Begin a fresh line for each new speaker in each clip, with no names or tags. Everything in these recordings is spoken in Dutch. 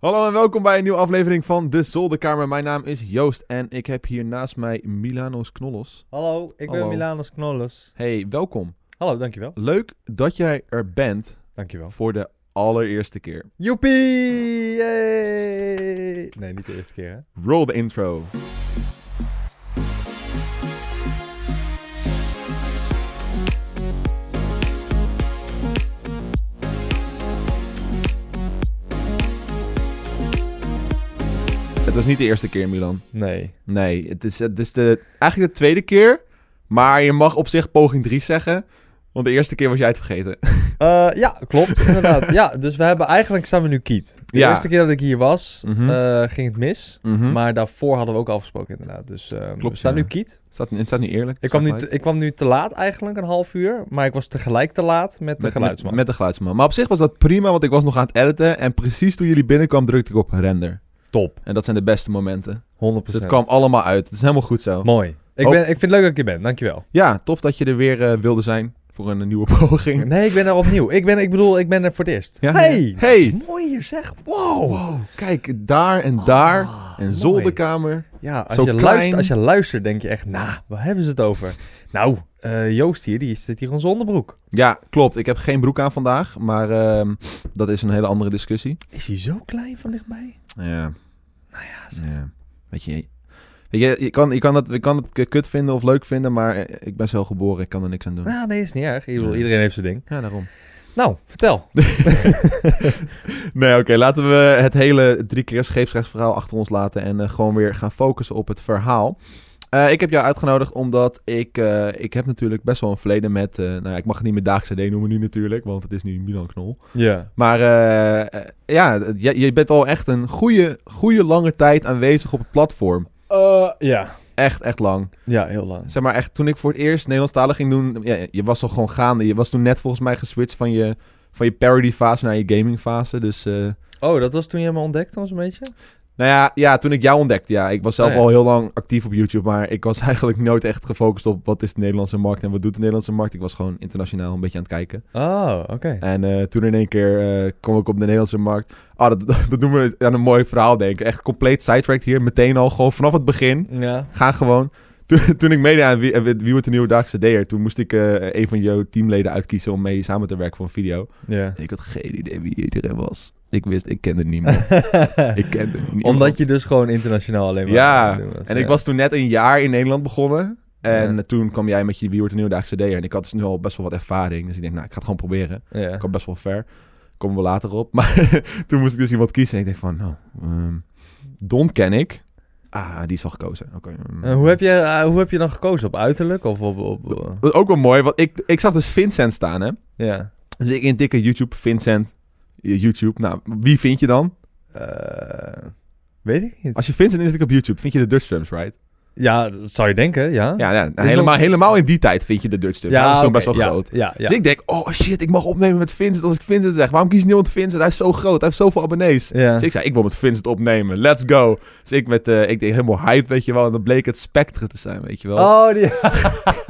Hallo en welkom bij een nieuwe aflevering van De Zolderkamer. Mijn naam is Joost en ik heb hier naast mij Milanos Knollos.
Hallo, ik ben
Hallo.
Milanos Knolles.
Hey, welkom.
Hallo, dankjewel.
Leuk dat jij er bent
Dankjewel.
voor de allereerste keer.
Joepie! Yay! Nee, niet de eerste keer hè.
Roll the intro. Het was niet de eerste keer, Milan.
Nee.
Nee, het is, het is de, eigenlijk de tweede keer. Maar je mag op zich poging 3 zeggen. Want de eerste keer was jij het vergeten.
Eh, ja, klopt, inderdaad. ja, dus we hebben eigenlijk staan we nu kiet. De
Ja.
eerste keer dat ik hier was,
Mhm.
eh, ging het mis.
Mhm.
Maar daarvoor hadden we ook afgesproken inderdaad. Dus eh, we
Klopt,
staan
ja.
nu kiet.
het, staat, het staat niet eerlijk.
Ik kwam, nu
Staat
te, ik kwam nu te laat eigenlijk, een half uur. Maar ik was tegelijk te laat met de
Met,
geluidsman.
met, met de geluidsman. Maar op zich was dat prima, want ik was nog aan het editen. En precies toen jullie binnenkwamen, drukte ik op render.
Top, 100%.
En dat zijn de beste momenten. Dus het kwam allemaal uit. Het is helemaal goed zo.
Mooi. Ik,
Oh.
ben, ik vind het leuk dat ik hier ben, dankjewel.
Ja, tof dat je er weer eh, wilde zijn voor een, nieuwe poging.
Nee, ik ben er opnieuw. Ik, ben, ik bedoel, ik ben er voor het eerst.
Ja.
Hey,
Hey.
dat is mooi hier zeg. Wow.
Kijk, daar en daar.
Ah,
en
mooi.
zolderkamer.
Ja, als
Zo
je,
klein.
luistert, als je luistert denk je echt, nou, waar hebben ze het over? Nou, eh, Joost hier, die zit hier in zijn onderbroek.
Ja, klopt. Ik heb geen broek aan vandaag. Maar ehm, dat is een hele andere discussie.
Is hij zo klein van dichtbij?
Ja. Nou
ja,
Weet je, weet je, je, kan, je, kan het, je kan het k- kut vinden of leuk vinden, maar eh, ik ben zo geboren, ik kan er niks aan doen.
Nou, nee, is niet erg. Ik bedoel,
Ja.
Iedereen heeft zijn ding.
Ja, daarom.
Nou, vertel.
Nee, oké, laten we het hele drie keer scheepsrechtsverhaal achter ons laten en eh, gewoon weer gaan focussen op het verhaal. Eh, ik heb jou uitgenodigd omdat ik, eh, ik heb natuurlijk best wel een verleden met, eh, nou ja, ik mag het niet meer Daagse D noemen nu natuurlijk, want het is nu Milan Knol.
Ja.
Maar eh, eh, ja, je, je bent al echt een goede, goede lange tijd aanwezig op het platform.
Eh, ja.
Echt, echt lang.
Ja, heel lang.
Zeg maar echt, toen ik voor het eerst Nederlandstalig ging doen, ja, je was al gewoon gaande. Je was toen net volgens mij geswitcht van je, van je parody fase naar je gaming fase. Dus eh,
Oh, dat was toen jij me ontdekte, was een beetje?
nou ja, ja, toen ik jou ontdekte, ja, ik was zelf
Oh ja.
al heel lang actief op YouTube, maar ik was eigenlijk nooit echt gefocust op wat is de Nederlandse markt en wat doet de Nederlandse markt. Ik was gewoon internationaal een beetje aan het kijken.
Oh, oké.
En eh, toen in één keer eh, kwam ik op de Nederlandse markt. Ah, dat, dat, dat doen we aan een mooi verhaal denken. Echt compleet sidetracked hier, meteen al, gewoon vanaf het begin.
Ja.
Ga gewoon. Toen, toen ik meedeed aan wie, eh, wie wordt de nieuwe dagse DR, toen moest ik eh, een van jouw teamleden uitkiezen om mee samen te werken voor een video.
Ja.
En ik had geen idee wie iedereen was. Ik wist, ik kende niemand. ik kende niemand.
Omdat je dus gewoon internationaal alleen maar...
Ja,
aan het doen was.
En ik
Ja.
was toen net een jaar in Nederland begonnen. En
Ja.
toen kwam jij met je Wie wordt de nieuwe dagse DR. En ik had dus nu al best wel wat ervaring. Dus ik denk, nou, ik ga het gewoon proberen.
Ja.
Ik had best wel ver. Komen we later op. Maar toen moest ik dus iemand kiezen. En ik denk van, nou, ehm, Don ken ik. Ah, die is al gekozen. Oké.
Eh, hoe, heb je, eh, hoe heb je dan gekozen? Op uiterlijk of op... op, op-
Dat is ook wel mooi, want ik, ik zag dus Vincent staan, hè.
eh, ja.
Dus ik in dikke YouTube, Vincent, eh, YouTube. Nou, wie vind je dan?
Eh, weet ik niet.
Als je Vincent intikt op YouTube, vind je de Dutch Drums, right?
Ja, dat zou je denken, ja.
Ja, ja nou,
Is
helemaal,
dat-
helemaal in die tijd vind je de Dutch Drums. Ja, dat is
oké,
toen best wel
ja,
groot.
Ja, ja.
Dus ik denk, oh shit, ik mag opnemen met Vincent als ik Vincent zeg. Waarom kiest niemand Vincent? Hij is zo groot, hij heeft zoveel abonnees.
ja.
Dus ik zei, ik wil met Vincent opnemen, let's go. Dus ik met, eh, ik deed helemaal hype, weet je wel. En dan bleek het Spectre te zijn, weet je wel.
Oh, die...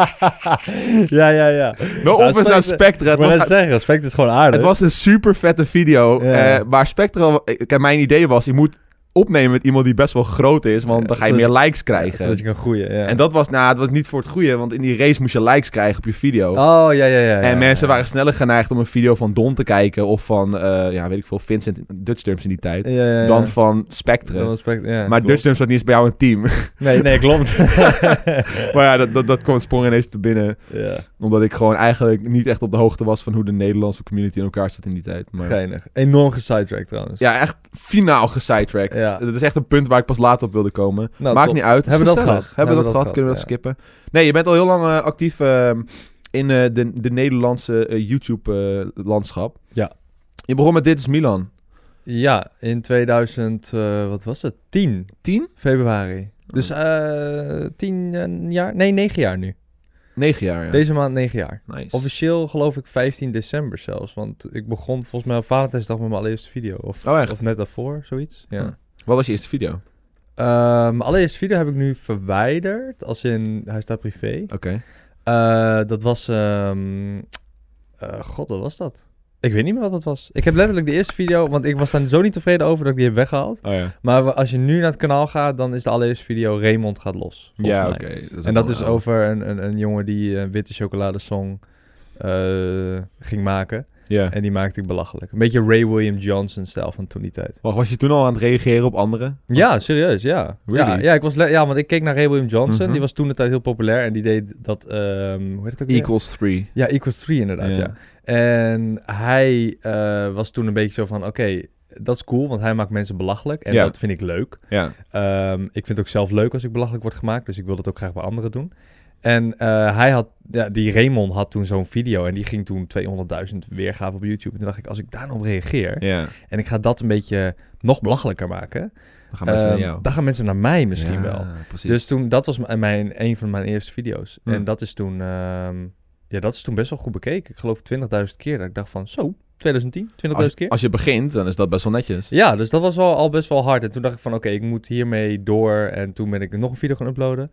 ja, ja, ja.
no
nou,
offense naar
Spectre-
Spectre, het
maar
was
dat zeggen, respect is gewoon aardig.
Het was een super vette video.
Ja.
eh, waar Spectral. Kijk, mijn idee was: je moet opnemen met iemand die best wel groot is. Want
Ja,
dan ga je meer
zodat
likes
Ja,
krijgen.
Zodat je kan groeien, ja.
En dat was, nou, het was niet voor het goede. Want in die race moest je likes krijgen op je video.
Oh, ja, ja, ja. ja,
en mensen
ja.
waren sneller geneigd om een video van Don te kijken. Of van, eh, ja, weet ik veel, Vincent Dutch Terms in die tijd.
Ja, ja, ja.
Dan van Spectre.
Dan respect, ja,
maar dus-
klopt.
Dutch Terms zat niet eens bij jou een team.
Nee, nee, klopt.
maar ja, dat, dat, dat kwam sprong ineens te binnen.
ja,
Omdat ik gewoon eigenlijk niet echt op de hoogte was van hoe de Nederlandse community in elkaar zat in die tijd. Maar...
geinig. Enorm gesidetracked trouwens.
Ja, echt finaal gesidetracked.
Ja.
Dat is echt een punt waar ik pas later op wilde komen.
Nou,
Maakt
top.
niet uit. Het is
Hebben we dat
gezellig.
gehad?
Hebben we dat gehad? Kunnen we dat skippen? Nee, je bent al heel lang eh, actief ehm, in eh, de, de Nederlandse eh, YouTube-landschap.
Ja.
Je begon met Dit is Milan.
Ja, in 2000, eh, wat was het? 10
10?
februari. Dus
Oh.
eh 10 jaar? Nee, 9 jaar nu.
9 jaar, ja.
Deze maand 9 jaar.
Nice.
Officieel geloof ik 15 december zelfs. Want ik begon volgens mij op Valentijnsdag met mijn allereerste video. Of,
Oh, echt?
of net daarvoor, zoiets. Ja.
Hm. Wat was je eerste video? Oké.
Ehm, mijn allereerste video heb ik nu verwijderd. Als in, hij staat privé. Eh, dat was... ehm, eh, God, wat was dat? Ik weet niet meer wat dat was. Ik heb letterlijk de eerste video, want ik was daar zo niet tevreden over dat ik die heb weggehaald.
Oh ja.
Maar we- als je nu naar het kanaal gaat, dan is de allereerste video Raymond gaat los. volgens
Ja,
mij.
oké. ook
En dat
wel
is
een oude.
over een, een, een jongen die een witte chocoladesong eh ging maken.
Ja.
En die maakte ik belachelijk. Een beetje Ray William Johnson-stijl van toen die tijd.
Wacht, was je toen al aan het reageren op anderen?
Ja, serieus, ja.
Really?
Ja, ja, ik was le- ja, want ik keek naar Ray William Johnson.
Mhm.
Die was toen de tijd heel populair. En die deed dat, ehm, hoe heet het ook weer?
Equals 3.
Ja, Equals 3 inderdaad, ja. En hij eh, was toen een beetje zo van, oké, dat is cool, want hij maakt mensen belachelijk. En
Ja.
dat vind ik leuk.
Ja.
Ehm, ik vind het ook zelf leuk als ik belachelijk word gemaakt, dus ik wil dat ook graag bij anderen doen. En eh, hij had, ja, die Raymond had toen zo'n video en die ging toen 200.000 weergaven op YouTube. En toen dacht ik, als ik daar nou op reageer
Ja.
en ik ga dat een beetje nog belachelijker maken,
Dan gaan mensen naar
ehm,
jou.
dan gaan mensen naar mij misschien
Ja,
wel.
Precies.
Dus toen, dat was mijn- mijn, een van mijn eerste video's.
Hmm.
En dat is toen, ehm, ja, dat is toen best wel goed bekeken. Ik geloof 20.000 keer dat ik dacht van, zo, 2010, 20.000
als,
keer.
als je begint, dan is dat best wel netjes.
Ja, dus dat was wel al best wel hard. En toen dacht ik van, oké, ik moet hiermee door. En toen ben ik nog een video gaan uploaden.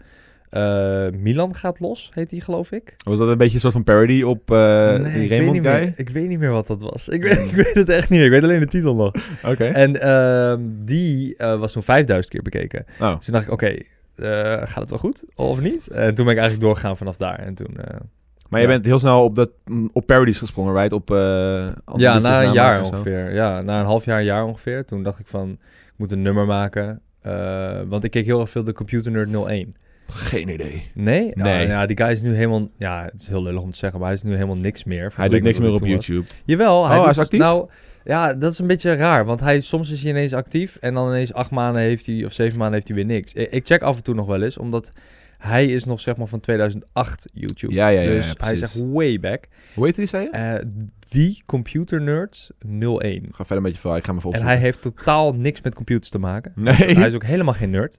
Eh, Milan gaat los, heet die geloof ik.
Was dat een beetje een soort van parody op eh die
ik weet,
Raymond
niet
guy?
meer, ik weet niet meer wat dat was. Ik weet, ik weet het echt niet meer. Ik weet alleen de titel nog.
Oké.
En ehm, die eh, was zo'n 5000 keer bekeken.
Oh.
Dus toen dacht ik, oké, eh, gaat het wel goed of niet? En toen ben ik eigenlijk doorgegaan vanaf daar. En toen, eh,
Maar je
Ja.
bent heel snel op, dat, mm, op parodies gesprongen, right? Op, eh, andere
ja,
liedjes
na een
namaken
jaar
of zo.
ongeveer. Ja, na een half jaar, een jaar ongeveer. Toen dacht ik van, ik moet een nummer maken. Eh, want ik keek heel erg veel de Computer Nerd 01.
Geen idee.
Nee?
Nee.
Ah, ja, die guy is nu helemaal... Ja, het is heel lullig om te zeggen, maar hij is nu helemaal niks meer.
Hij doet
vergeleken
niks
met
meer
wat
op
hij toen was.
YouTube.
Jawel.
Oh, hij
doet-
is actief?
Nou, ja, dat is een beetje raar. Want hij, soms is hij ineens actief en dan ineens acht maanden heeft hij... of zeven maanden heeft hij weer niks. Ik, ik check af en toe nog wel eens, omdat hij is nog zeg maar van 2008 YouTube.
Ja, ja, ja,
Dus
ja,
hij is
precies.
echt way back.
Hoe heet die, zei je?
Eh, die computer nerd 01.
Ik ga verder een beetje vooruit. Ik ga me even
En
opzoeken.
hij heeft totaal niks met computers te maken.
Nee.
Hij is ook helemaal geen nerd.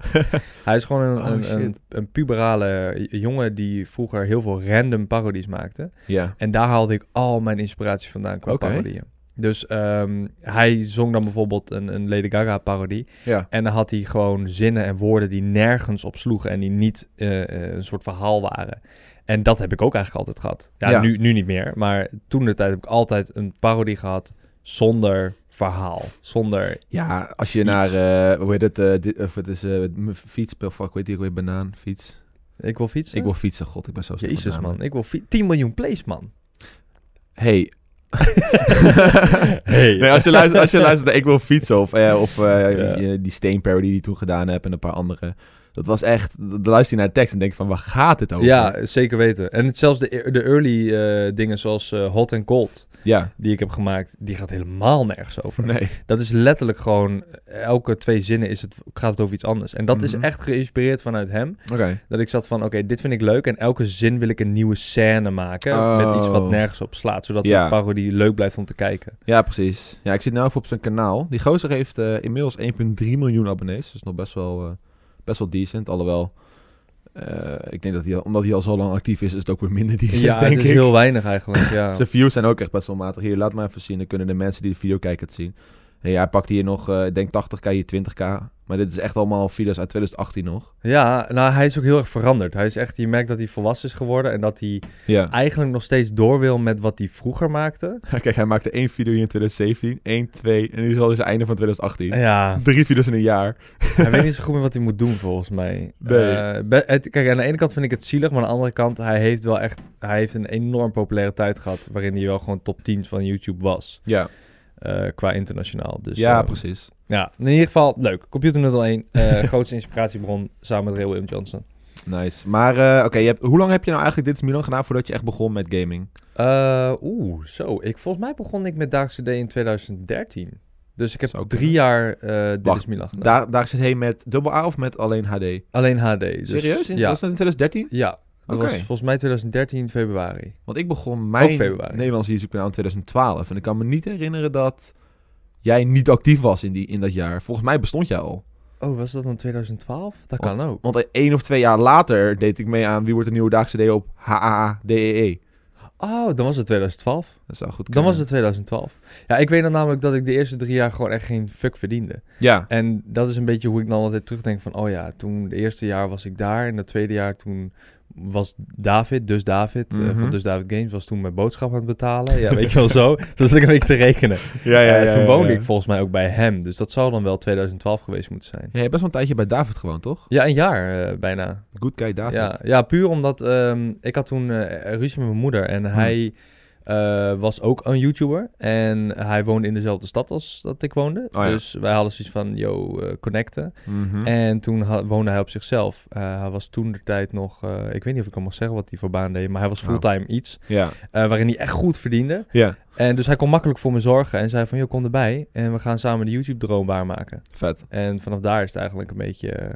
Hij is gewoon een,
Oh,
een, een,
shit.
een puberale jongen die vroeger heel veel random parodies maakte.
Ja.
En daar haalde ik al mijn inspiratie vandaan qua
Oké.
parodieën. Dus ehm, hij zong dan bijvoorbeeld een, een Lady Gaga parodie.
Ja.
En dan had hij gewoon zinnen en woorden die nergens op sloegen. En die niet eh, eh, een soort verhaal waren. En dat heb ik ook eigenlijk altijd gehad. Ja,
Ja.
Nu, nu niet meer. Maar toen de tijd heb ik altijd een parodie gehad zonder verhaal. Zonder...
Ja, als je naar, eh, hoe heet het, eh, dit, of het is eh, m- fiets, fuck, weet je ook weer, banaan, fiets.
Ik wil fietsen.
Ik wil fietsen, god, ik ben zo stom met
Jezus,
namen.
man. Ik wil fi- 10 miljoen plays, man.
Hey.
Hey.
Nee, als je luistert, als je luistert naar Ik wil fietsen of, eh, of eh,
Ja.
die, eh, die Steen parody die ik toen gedaan heb en een paar andere. Dat was echt, dan luister je naar de tekst en denk je van, waar gaat dit over?
Ja, zeker weten. En het, zelfs de, e- de early eh, dingen zoals eh, Hot and Cold,
Ja.
die ik heb gemaakt, die gaat helemaal nergens over.
Nee.
Dat is letterlijk gewoon, elke twee zinnen is het, gaat het over iets anders. En dat
Mhm.
is echt geïnspireerd vanuit hem.
Oké.
Dat ik zat van, oké, dit vind ik leuk. En elke zin wil ik een nieuwe scène maken met iets wat
Oh.
nergens op slaat. Zodat
Ja.
de parodie leuk blijft om te kijken.
Ja, precies. Ja, ik zit nu even op zijn kanaal. Die gozer heeft eh, inmiddels 1,3 miljoen abonnees. Dus nog best wel, eh, best wel decent. Alhoewel, eh, ik denk dat hij, al- omdat hij al zo lang actief is, is het ook weer minder decent,
ja,
denk
het is
ik.
heel weinig eigenlijk, ja.
Zijn views zijn ook echt best wel matig. Hier, laat maar even zien. Dan kunnen de mensen die de video kijken het zien. En ja, hij pakt hier nog, eh, ik denk 80k, hier 20k. Maar dit is echt allemaal video's uit 2018 nog.
Ja, nou, hij is ook heel erg veranderd. Hij is echt, je merkt dat hij volwassen is geworden en dat hij
Ja.
eigenlijk nog steeds door wil met wat hij vroeger maakte.
Kijk, hij maakte één video hier in 2017. één, twee. En nu is al dus het einde van 2018.
Ja,
Drie video's in een jaar.
hij weet niet zo goed meer wat hij moet doen volgens mij.
Nee.
Eh, be- het- kijk, aan de ene kant vind ik het zielig, maar aan de andere kant, hij heeft wel echt, hij heeft een enorm populaire tijd gehad waarin hij wel gewoon top 10 van YouTube was.
Ja,
eh, qua internationaal. Dus,
ja
eh,
precies.
Ja, in ieder geval, leuk. Computer 01, eh grootste inspiratiebron samen met Ray William Johnson.
Nice. Maar eh, oké, je hebt- hoe lang heb je nou eigenlijk dit is Milan gedaan voordat je echt begon met gaming?
Eh, Oeh, zo. Ik, volgens mij begon ik met Daagse D in 2013. Dus ik heb
Zou
drie
kunnen.
jaar eh Dit
Wacht,
is Milan gedaan.
Daar, daar zit hij met dubbel A of met alleen HD?
Alleen HD. Dus,
Serieus? In,
ja.
Was dat in 2013?
ja. Dat
Oké.
was volgens mij 2013 februari.
Want ik begon mijn
februari.
Nederlandse YouTube-kanaal in 2012. En ik kan me niet herinneren dat jij niet actief was in, die, in dat jaar. Volgens mij bestond jij al.
Oh, was dat dan 2012? Dat
kan
kan ook.
Want één of twee jaar later deed ik mee aan Wie wordt de Nieuwe Daagse D E op HAADEE.
Oh, dan was het 2012.
Dat zou goed kunnen.
Dan was het 2012. Ja, ik weet dan namelijk dat ik de eerste drie jaar gewoon echt geen fuck verdiende.
Ja,
En dat is een beetje hoe ik dan altijd terugdenk van... Oh ja, toen de eerste jaar was ik daar. En dat tweede jaar toen was David, dus David, eh,
Mhm.
van dus David Games, was toen mijn boodschap aan het betalen. Ja, weet je wel zo. Dus ik een beetje te rekenen.
Ja,
Eh, toen woonde
ja.
ik volgens mij ook bij hem. Dus dat zou dan wel 2012 geweest moeten zijn.
Ja, je hebt best wel een tijdje bij David gewoond, toch?
Ja, een jaar eh, bijna.
Good guy David.
Ja, ja, puur omdat ehm, ik had toen eh, ruzie met mijn moeder en hij eh, was ook een YouTuber en hij woonde in dezelfde stad als dat ik woonde.
ja.
Dus wij hadden zoiets van, yo, eh, connecten.
Mhm.
En toen ha- woonde hij op zichzelf. Eh, hij was toen de tijd nog, eh, ik weet niet of ik hem mag zeggen wat hij voor baan deed, maar hij was
Nou.
fulltime iets
ja.
eh, waarin hij echt goed verdiende.
Ja,
En dus hij kon makkelijk voor me zorgen en zei van, yo, kom erbij en we gaan samen de YouTube-droom waarmaken.
vet.
En vanaf daar is het eigenlijk een beetje eh,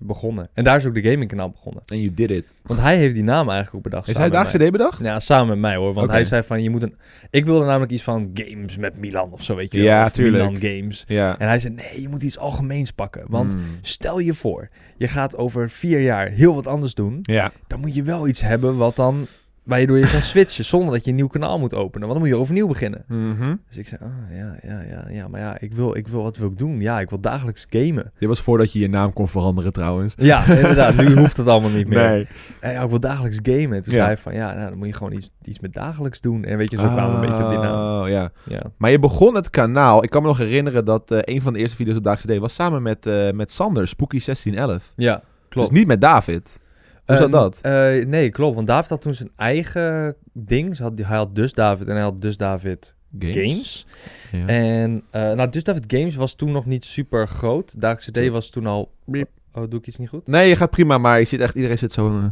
begonnen. En daar is ook de gamingkanaal begonnen.
En you did it.
Want hij heeft die naam eigenlijk ook bedacht.
Heeft hij
samen
Daagse
met
idee bedacht?
mij. Ja, samen met mij hoor. Want
Oké.
hij zei van, je moet een... Ik wilde namelijk iets van games met Milan of zo, weet je. wel,
Ja,
of
tuurlijk.
Milan games.
Ja.
En hij zei, nee, je moet iets algemeens pakken. Want
Mm.
stel je voor, je gaat over vier jaar heel wat anders doen.
Ja.
Dan moet je wel iets hebben wat dan... Waar je door je kan switchen zonder dat je een nieuw kanaal moet openen. Want dan moet je overnieuw beginnen.
Mhm.
Dus ik zei, ah ja, ja, ja, ja. Maar ja, ik wil, ik wil, wat wil ik doen? Ja, ik wil dagelijks gamen.
Dit was voordat je je naam kon veranderen trouwens.
Ja, inderdaad. nu hoeft dat allemaal niet meer.
Nee.
En ja, ik wil dagelijks gamen. En Toen
Ja.
zei hij van, ja, nou, dan moet je gewoon iets, iets met dagelijks doen. En weet je, zo kwamen we een beetje op die naam.
Oh, ja.
Ja.
Maar je begon het kanaal. Ik kan me nog herinneren dat eh, een van de eerste video's op Daagse idee was samen met, eh, met Sander, Spooky1611.
ja, klopt.
Dus niet met David. Hoe zat
Eh,
dat?
eh, nee, klopt. Want David had toen zijn eigen ding. Ze had, hij had dus David en hij had dus David Games.
Ja.
En eh, nou, dus David Games was toen nog niet super groot. Dagelijks CD
Zo.
was toen al...
Biep.
Oh, doe ik iets niet goed?
Nee, je gaat prima, maar je ziet echt, iedereen zit zo... eh.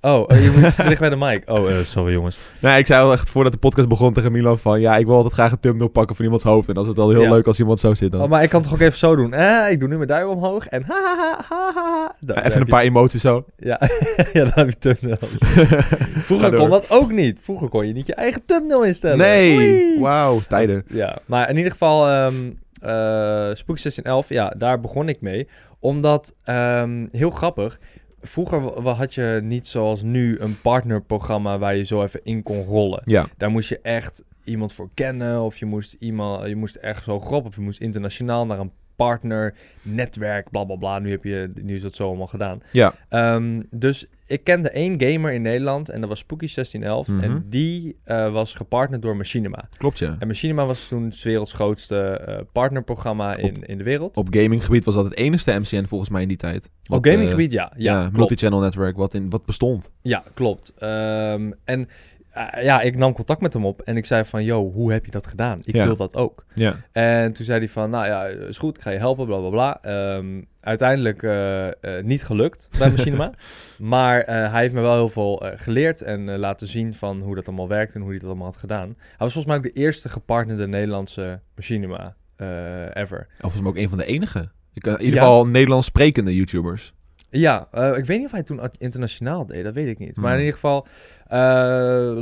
Oh, eh, je moet iets dicht bij de mic. Oh, eh, sorry jongens.
Nee, ik zei al echt voordat de podcast begon tegen Milan van... Ja, ik wil altijd graag een thumbnail pakken van iemands hoofd. En dan is het al heel
Ja.
leuk als iemand zo zit dan.
Oh, maar ik kan toch ook even zo doen. Eh, ik doe nu mijn duim omhoog en ha ha ha ha ha. Dan- dan heb
Even
je-
een paar emoties zo.
Ja, ja dan heb je thumbnails. Vroeger
Ga
kon
door.
dat ook niet. Vroeger kon je niet je eigen thumbnail instellen.
Nee,
Oei.
wauw, tijden.
Ja, maar in ieder geval, ehm eh, Spook 1611, ja, daar begon ik mee. Omdat, ehm, heel grappig, vroeger wa- wa- had je niet zoals nu een partnerprogramma waar je zo even in kon rollen.
Ja.
Daar moest je echt iemand voor kennen of je moest, iemand, je moest echt zo grop of je moest internationaal naar een partner, netwerk, bla bla bla. Nu, heb je, nu is dat zo allemaal gedaan.
Ja.
Ehm, dus ik kende één gamer in Nederland en dat was Spooky 1611
Mhm.
en die eh, was gepartnerd door Machinima.
Klopt, ja.
En Machinima was toen het werelds grootste eh, partnerprogramma in, in de wereld. Op,
Op gaminggebied was dat het enigste MCN volgens mij in die tijd. Wat, eh,
gaminggebied, ja. Ja,
ja,
klopt.
multi-channel network, wat, in, wat bestond.
Ja, klopt. Ehm, en eh, ja, ik nam contact met hem op en ik zei van... Yo, hoe heb je dat gedaan? Ik
Ja.
wil dat ook.
Ja.
En toen zei hij van... Nou ja, is goed, ik ga je helpen, bla bla bla. Ehm, uiteindelijk eh, eh, niet gelukt bij Machinima. maar eh, hij heeft me wel heel veel eh, geleerd en eh, laten zien van hoe dat allemaal werkt... en hoe hij dat allemaal had gedaan. Hij was volgens mij ook de eerste gepartnerde Nederlandse Machinima eh, ever.
Of volgens mij ook een van de enige. Ik, eh, in
Ja.
ieder geval Nederlands sprekende YouTubers.
Ja, eh, ik weet niet of hij toen at- internationaal deed, dat weet ik niet. Maar in
Hmm.
ieder geval, eh,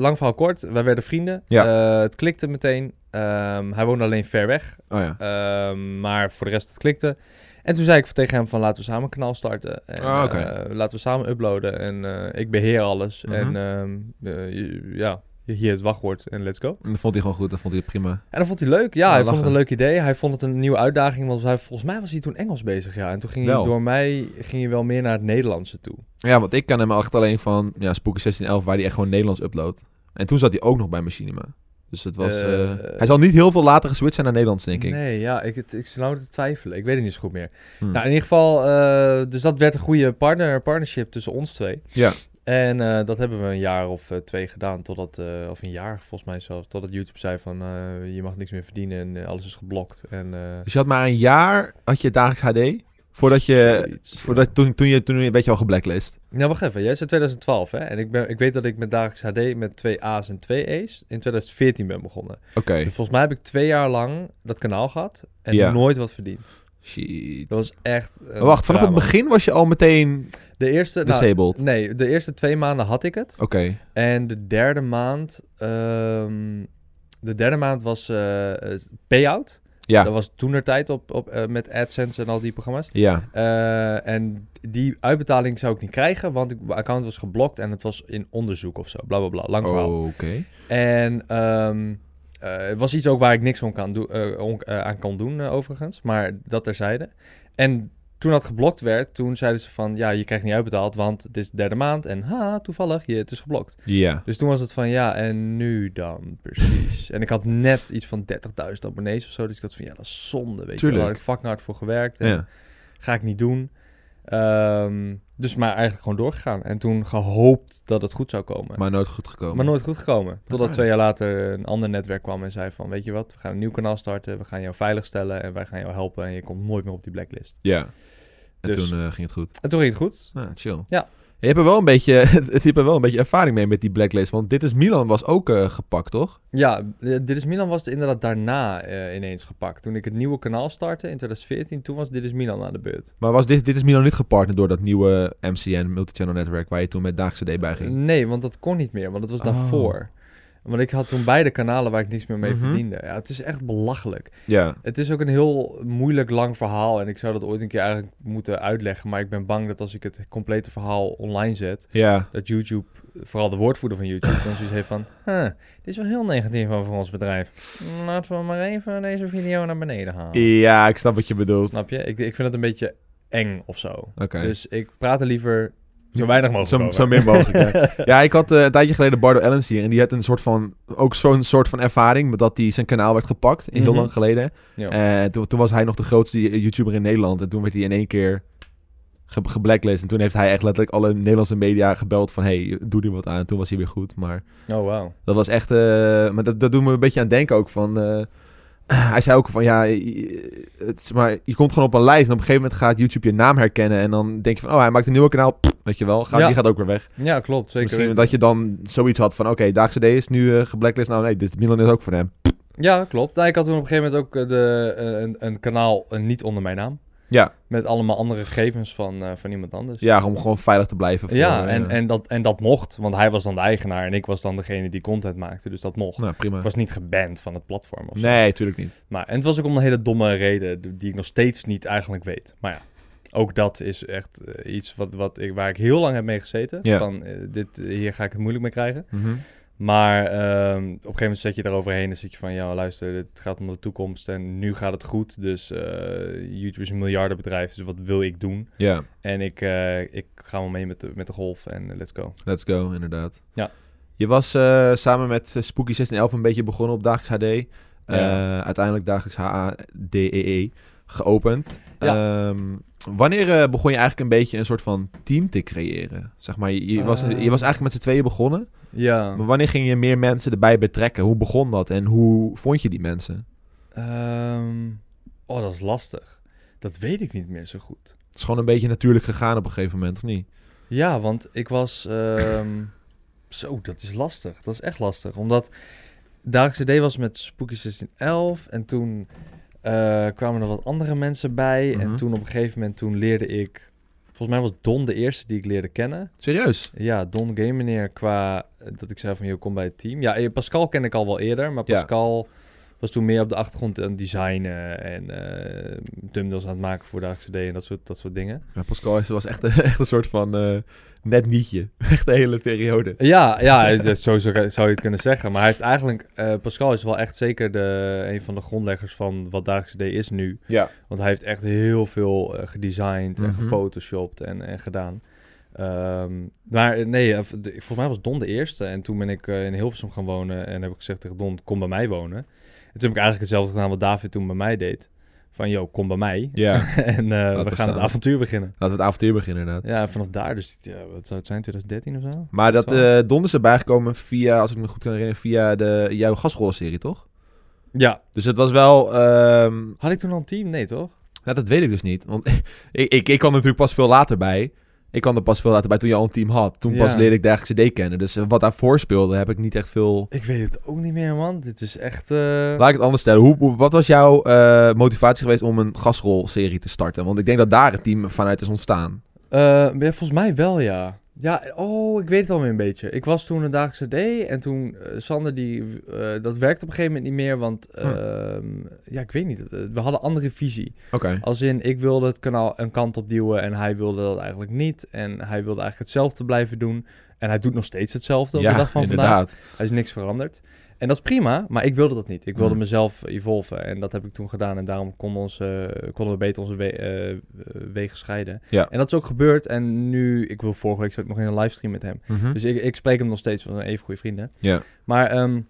lang verhaal kort, wij werden vrienden.
Ja.
Eh, het klikte meteen. Ehm, hij woonde alleen ver weg,
Oh ja.
Ehm, maar voor de rest het klikte. En toen zei ik tegen hem van laten we samen een kanaal starten. En,
Ah, oké.
eh, laten we samen uploaden en eh, ik beheer alles.
Mhm.
En ehm, eh, je- ja, hier het wachtwoord en let's go.
En dat vond hij gewoon goed, dat vond hij prima.
En dat vond hij leuk. Ja,
Ja,
hij
lachen.
vond het een leuk idee. Hij vond het een nieuwe uitdaging. Want hij, volgens mij was hij toen Engels bezig. Ja. En toen ging hij
Wel.
door mij ging hij wel meer naar het Nederlandse toe.
Ja, want ik ken hem echt alleen van ja, Spooky 1611, waar hij echt gewoon Nederlands uploadt. En toen zat hij ook nog bij Machinima. Dus het was...
Eh,
eh, hij zal niet heel veel later geswitcht zijn naar Nederlands, denk ik.
Nee, ja, ik, het- ik zit nou te twijfelen. Ik weet het niet zo goed meer.
Hm.
Nou, in ieder geval, eh, dus dat werd een goede partner, partnership tussen ons twee.
Ja.
En eh, dat hebben we een jaar of eh, twee gedaan, totdat, eh, of een jaar volgens mij zelfs, totdat YouTube zei van eh, je mag niks meer verdienen en eh, alles is geblokt. En, eh,
Dus je had maar een jaar, had je dagelijks HD, voordat je...
zoiets,
Voordat, toen, toen, je, toen werd je al geblacklist.
ja. Nou, wacht even. Jij zei 2012, hè? En ik, ben, ik weet dat ik met Dagelijks HD met twee A's en twee E's in 2014 ben begonnen.
Oké.
Dus volgens mij heb ik twee jaar lang dat kanaal gehad en
Ja.
nooit wat verdiend.
Shit.
Dat was echt... een
Maar Wacht, vanaf het
drama.
begin was je al meteen
De eerste... nou,
disabled.
Nee, de eerste twee maanden had ik het.
Oké.
En de derde maand... ehm, de derde maand was eh, eh, payout.
Ja.
Dat was toen er tijd op, op, eh, met AdSense en al die programma's.
Ja.
Eh, en die uitbetaling zou ik niet krijgen, want ik- mijn account was geblokt en het was in onderzoek of zo. Bla bla bla. Lang verhaal.
Oké.
En ehm, eh, het was iets ook waar ik niks om kan doen- eh, on- eh, aan kan doen, eh, overigens. Maar dat terzijde. En toen dat geblokt werd, toen zeiden ze van... Ja, je krijgt niet uitbetaald, want het is de derde maand. En ha, toevallig, je, het is geblokt.
Ja.
Dus toen was het van, ja, en nu dan precies. en ik had net iets van 30.000 abonnees of zo. Dus ik had van, ja, dat is zonde, weet je
Tuurlijk.
wel. Daar heb ik fucking hard voor gewerkt. En
ja.
Ga ik niet doen. Ehm, dus maar eigenlijk gewoon doorgegaan. En toen gehoopt dat het goed zou komen.
Maar nooit goed gekomen.
Maar nooit goed gekomen. Totdat
Alright.
twee jaar later een ander netwerk kwam en zei van... Weet je wat, we gaan een nieuw kanaal starten. We gaan jou veiligstellen en wij gaan jou helpen. En je komt nooit meer op die blacklist.
Ja. En
Dus-
toen eh, ging het goed.
En toen ging het goed.
Nou, chill.
Ja.
Je hebt er wel een beetje, je hebt er wel een beetje ervaring mee met die blacklist. Want dit is Milan was ook eh, gepakt, toch?
Ja, eh, Dit is Milan was inderdaad daarna eh, ineens gepakt. Toen ik het nieuwe kanaal startte in 2014, toen was Dit is Milan aan de beurt.
Maar was dit, dit is Milan niet gepartnerd door dat nieuwe MCN, Multichannel Network, waar je toen met Daagse D bij ging?
Nee, want dat kon niet meer, want dat was
Oh.
daarvoor. Want ik had toen beide kanalen waar ik niks meer mee
Mhm.
verdiende. Ja, het is echt belachelijk.
Ja.
Het is ook een heel moeilijk lang verhaal. En ik zou dat ooit een keer eigenlijk moeten uitleggen. Maar ik ben bang dat als ik het complete verhaal online zet,
Ja.
dat YouTube, vooral de woordvoerder van YouTube, dan zoiets heeft van... Huh, dit is wel heel negatief over ons bedrijf. Laten we maar even deze video naar beneden halen.
Ja, ik snap wat je bedoelt.
Snap je? Ik, ik vind het een beetje eng of zo.
Oké.
Dus ik praat er liever zo weinig mogelijk
Zo,
over.
zo min mogelijk. ja. ja, ik had eh, een tijdje geleden Bardo Ellens hier. En die had een soort van, ook zo'n soort van ervaring. met Dat hij zijn kanaal werd gepakt. Heel
Mhm.
lang geleden.
Ja.
En Eh, toen, toen was hij nog de grootste YouTuber in Nederland. En toen werd hij in één keer ge- geblacklist. En toen heeft hij echt letterlijk alle Nederlandse media gebeld. Van hey, doe er wat aan. En toen was hij weer goed. Maar
Oh, wauw.
dat was echt. eh, maar dat, dat doet me een beetje aan denken ook van. eh, hij zei ook van ja, je- het is maar, je komt gewoon op een lijst en op een gegeven moment gaat YouTube je naam herkennen en dan denk je van oh hij maakt een nieuwe kanaal, pff, weet je wel, gaat,
Ja.
die gaat ook weer weg. Dus
Ja, klopt. Zeker
misschien
weten.
dat je dan zoiets had van oké, Daagse D is nu eh, geblacklist, nou nee, dus Milan is ook voor hem.
Ja, klopt. Nou, ik had toen op een gegeven moment ook eh, de, eh, een, een kanaal eh, niet onder mijn naam.
Ja.
Met allemaal andere gegevens van, eh, van iemand anders.
Dus Ja, om gewoon veilig te blijven. voor,
Ja,
eh,
en, en, dat, en dat mocht, want hij was dan de eigenaar en ik was dan degene die content maakte, dus dat mocht.
Nou, prima.
Ik was niet geband van het platform of zo.
Nee, tuurlijk niet.
Maar, en het was ook om een hele domme reden d- die ik nog steeds niet eigenlijk weet. Maar ja, ook dat is echt eh, iets wat, wat ik, waar ik heel lang heb mee gezeten.
Ja.
Van, eh, dit, hier ga ik het moeilijk mee krijgen.
Mhm.
Maar ehm, op een gegeven moment zet je daaroverheen en zit je van... Ja, luister, dit gaat om de toekomst en nu gaat het goed. Dus eh, YouTube is een miljardenbedrijf, dus wat wil ik doen?
Ja.
En ik, eh, ik ga wel mee met de, met de golf en eh, let's go.
Let's go, inderdaad.
Ja.
Je was eh, samen met eh, Spooky 1611 een beetje begonnen op Dagelijks HD. Eh,
Ja.
uiteindelijk Dagelijks HADEE E geopend.
Ja.
Ehm, wanneer eh, begon je eigenlijk een beetje een soort van team te creëren? Zeg maar, je, je was, je was
Eh. Oh.
eigenlijk met z'n tweeën begonnen.
Ja.
Maar wanneer ging je meer mensen erbij betrekken? Hoe begon dat en hoe vond je die mensen?
Ehm, oh, dat is lastig. Dat weet ik niet meer zo goed.
Het is gewoon een beetje natuurlijk gegaan op een gegeven moment, of niet?
Ja, want ik was. ehm, zo, dat is lastig. Dat is echt lastig. Omdat Dagelijkse D was met Spooky 1611. En toen eh, kwamen er wat andere mensen bij.
Mhm.
En toen op een gegeven moment toen leerde ik. Volgens mij was Don de eerste die ik leerde kennen.
Serieus?
Ja, Don Game meneer qua eh, dat ik zei van joh, kom bij het team. Ja, eh, Pascal ken ik al wel eerder, maar
Ja.
Pascal was toen meer op de achtergrond aan het designen en eh thumbnails aan het maken voor de CD en dat soort, dat soort dingen.
Ja, Pascal is- was echt, een- echt een soort van eh, net nietje. Echt de hele periode.
Ja, ja dat, zo zou zou je het kunnen zeggen. Maar hij heeft eigenlijk, eh, Pascal is wel echt zeker de, een van de grondleggers van wat Dagelijkse D is nu.
Ja.
Want hij heeft echt heel veel eh, gedesigned en
Mhm.
gefotoshopt en, en gedaan. Ehm, maar eh, nee, eh, v- de- volgens mij was Don de eerste. En toen ben ik eh, in Hilversum gaan wonen en heb ik gezegd tegen Don, kom bij mij wonen. En toen heb ik eigenlijk hetzelfde gedaan wat David toen bij mij deed. Van, yo, kom bij mij.
Ja.
en eh,
we
we gaan
staan.
het avontuur beginnen.
Laten we het avontuur beginnen, inderdaad.
Ja, en vanaf daar, dus ja, wat zou het zijn, 2013 of zo?
Maar dat
Zo.
eh Don is erbij gekomen via, als ik me goed kan herinneren, via de, jouw gastrollenserie, toch?
Ja.
Dus het was wel... ehm,
Had ik toen al een team? Nee, toch?
nou, dat weet ik dus niet. Want ik, ik, ik kwam er natuurlijk pas veel later bij. Ik kwam er pas veel later bij toen je al een team had. Toen pas
Ja.
leerde ik de eigen CD kennen. Dus eh, wat daarvoor speelde, heb ik niet echt veel...
Ik weet het ook niet meer, man. Dit is echt... eh,
Laat ik het anders stellen. Hoe, hoe- wat was jouw eh, motivatie geweest om een gastrolserie te starten? Want ik denk dat daar het team vanuit is ontstaan.
Eh, ja, volgens mij wel, ja. Ja, oh, ik weet het alweer een beetje. Ik was toen een dagelijkse D en toen eh, Sander, die, eh, dat werkte op een gegeven moment niet meer, want
Hm.
ehm, ja, ik weet niet. eh, We hadden andere visie.
Oké.
Als in, ik wilde het kanaal een kant op duwen en hij wilde dat eigenlijk niet. En hij wilde eigenlijk hetzelfde blijven doen. En hij doet nog steeds hetzelfde op de dag van vandaag. Hij is niks veranderd. En dat is prima, maar ik wilde dat niet. Ik wilde
Mm.
mezelf evolven en dat heb ik toen gedaan. En daarom konden, ons, eh, konden we beter onze we- eh, eh, wegen scheiden.
Ja.
En dat is ook gebeurd. En nu, ik wil vorige week zat ik nog in een livestream met hem. Dus ik, ik spreek hem nog steeds, van even goede vrienden.
Ja.
Maar ehm,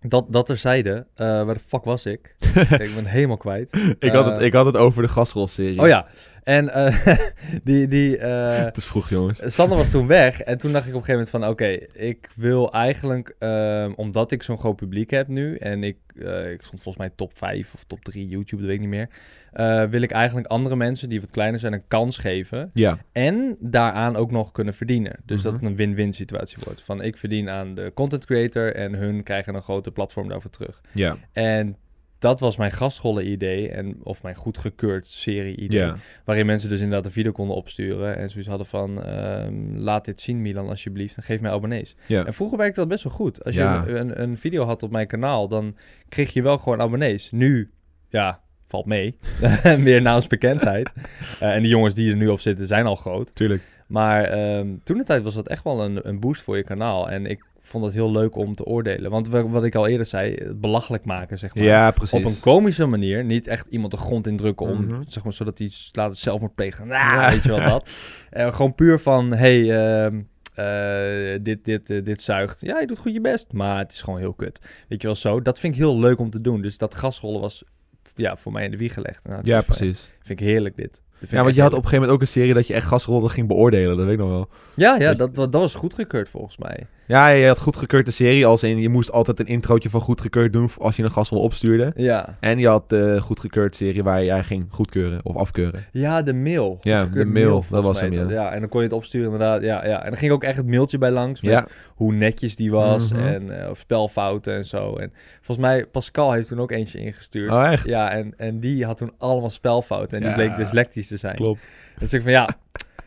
dat, dat terzijde, eh waar de fuck was ik? ik ben helemaal kwijt.
eh, ik, had het, ik had het over de gastrolserie.
Oh ja, en eh, die... die eh,
Het is vroeg, jongens.
Sander was toen weg en toen dacht ik op een gegeven moment van... oké, ik wil eigenlijk, ehm, omdat ik zo'n groot publiek heb nu... en ik, eh, ik stond volgens mij top 5 of top 3 YouTube, dat weet ik niet meer... eh, wil ik eigenlijk andere mensen die wat kleiner zijn een kans geven...
Ja.
en daaraan ook nog kunnen verdienen. Dus dat
Mhm.
het een win-win situatie wordt. Van ik verdien aan de content creator en hun krijgen een grote platform daarvoor terug.
Ja.
En dat was mijn gastrollen idee en, of mijn goedgekeurd serie idee...
Ja.
Waarin mensen dus inderdaad een video konden opsturen. En zoiets hadden van, ehm, laat dit zien Milan alsjeblieft. En geef mij abonnees.
Ja.
En vroeger werkte dat best wel goed. Als je
Ja.
een, een, een video had op mijn kanaal, dan kreeg je wel gewoon abonnees. Nu, ja, valt mee. Meer naamsbekendheid. Eh, en de jongens die er nu op zitten zijn al groot.
Tuurlijk.
Maar ehm, toen de tijd was dat echt wel een, een boost voor je kanaal. En ik vond het heel leuk om te oordelen. Want wa- wat ik al eerder zei, het belachelijk maken, zeg maar
Ja, precies.
op een komische manier. Niet echt iemand de grond indrukken om,
Mhm.
zeg maar, zodat hij s- laat het zelf moet plegen. Nou, weet je wel dat. Eh, gewoon puur van, hey, ehm, eh, dit, dit, eh, dit zuigt. Ja, je doet goed je best, maar het is gewoon heel kut. Weet je wel, zo. Dat vind ik heel leuk om te doen. Dus dat gasrollen was, ja, voor mij in de wieg gelegd. Nou, het
ja,
was fijn.
precies.
Vind ik heerlijk dit. Dat vind
Ja,
ik
want
echt
je had op een
heerlijk.
gegeven moment ook een serie dat je echt gastrollen ging beoordelen. Dat weet ik nog wel.
Ja, ja
dat-
dat, dat, dat was goedgekeurd volgens mij.
Ja, je had goedgekeurd de serie als in. Je moest altijd een introotje van goedgekeurd doen als je een gastrol opstuurde.
Ja,
En je had de goedgekeurd serie waar jij ging goedkeuren of afkeuren.
ja de mail.
Ja,
Goedgekeurd
de mail, dat
volgens
was
mij
hem, ja.
ja. En dan kon je het opsturen inderdaad. Ja, ja. En dan ging ook echt het mailtje bij langs. met
Ja,
hoe netjes die was
Mhm.
en eh, of spelfouten en zo. En volgens mij, Pascal heeft toen ook eentje ingestuurd.
oh, echt?
Ja, en, en die had toen allemaal spelfouten en die
Ja.
bleek dyslectisch te zijn.
Klopt.
Dus ik van ja,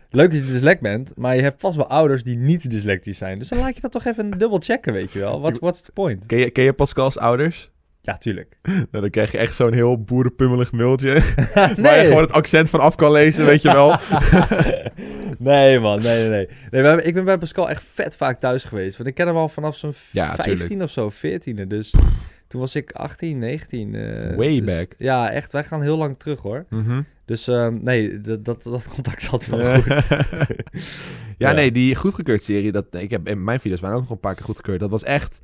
leuk dat je dyslect bent, maar je hebt vast wel ouders die niet dyslectisch zijn. Dus dan laat je dat toch even dubbel checken, weet je wel. What, what's the point?
Ken je, ken je Pascal's ouders?
Ja, tuurlijk.
Nou, dan krijg je echt zo'n heel boerenpummelig mailtje. Waar je
nee.
gewoon het accent van af kan lezen, weet je wel.
nee man, nee, nee, nee. nee we hebben- ik ben bij Pascal echt vet vaak thuis geweest. Want ik ken hem al vanaf zo'n
Ja,
15
tuurlijk.
of zo, 14e. Dus toen was ik 18, 19. eh,
Way
dus-
back.
Ja, echt. Wij gaan heel lang terug hoor. Dus ehm, nee, dat, dat, dat contact zat wel
ja,
goed. Ja.
nee, die goedgekeurd serie, dat, ik heb, en mijn video's waren ook nog een paar keer goedgekeurd. Dat was echt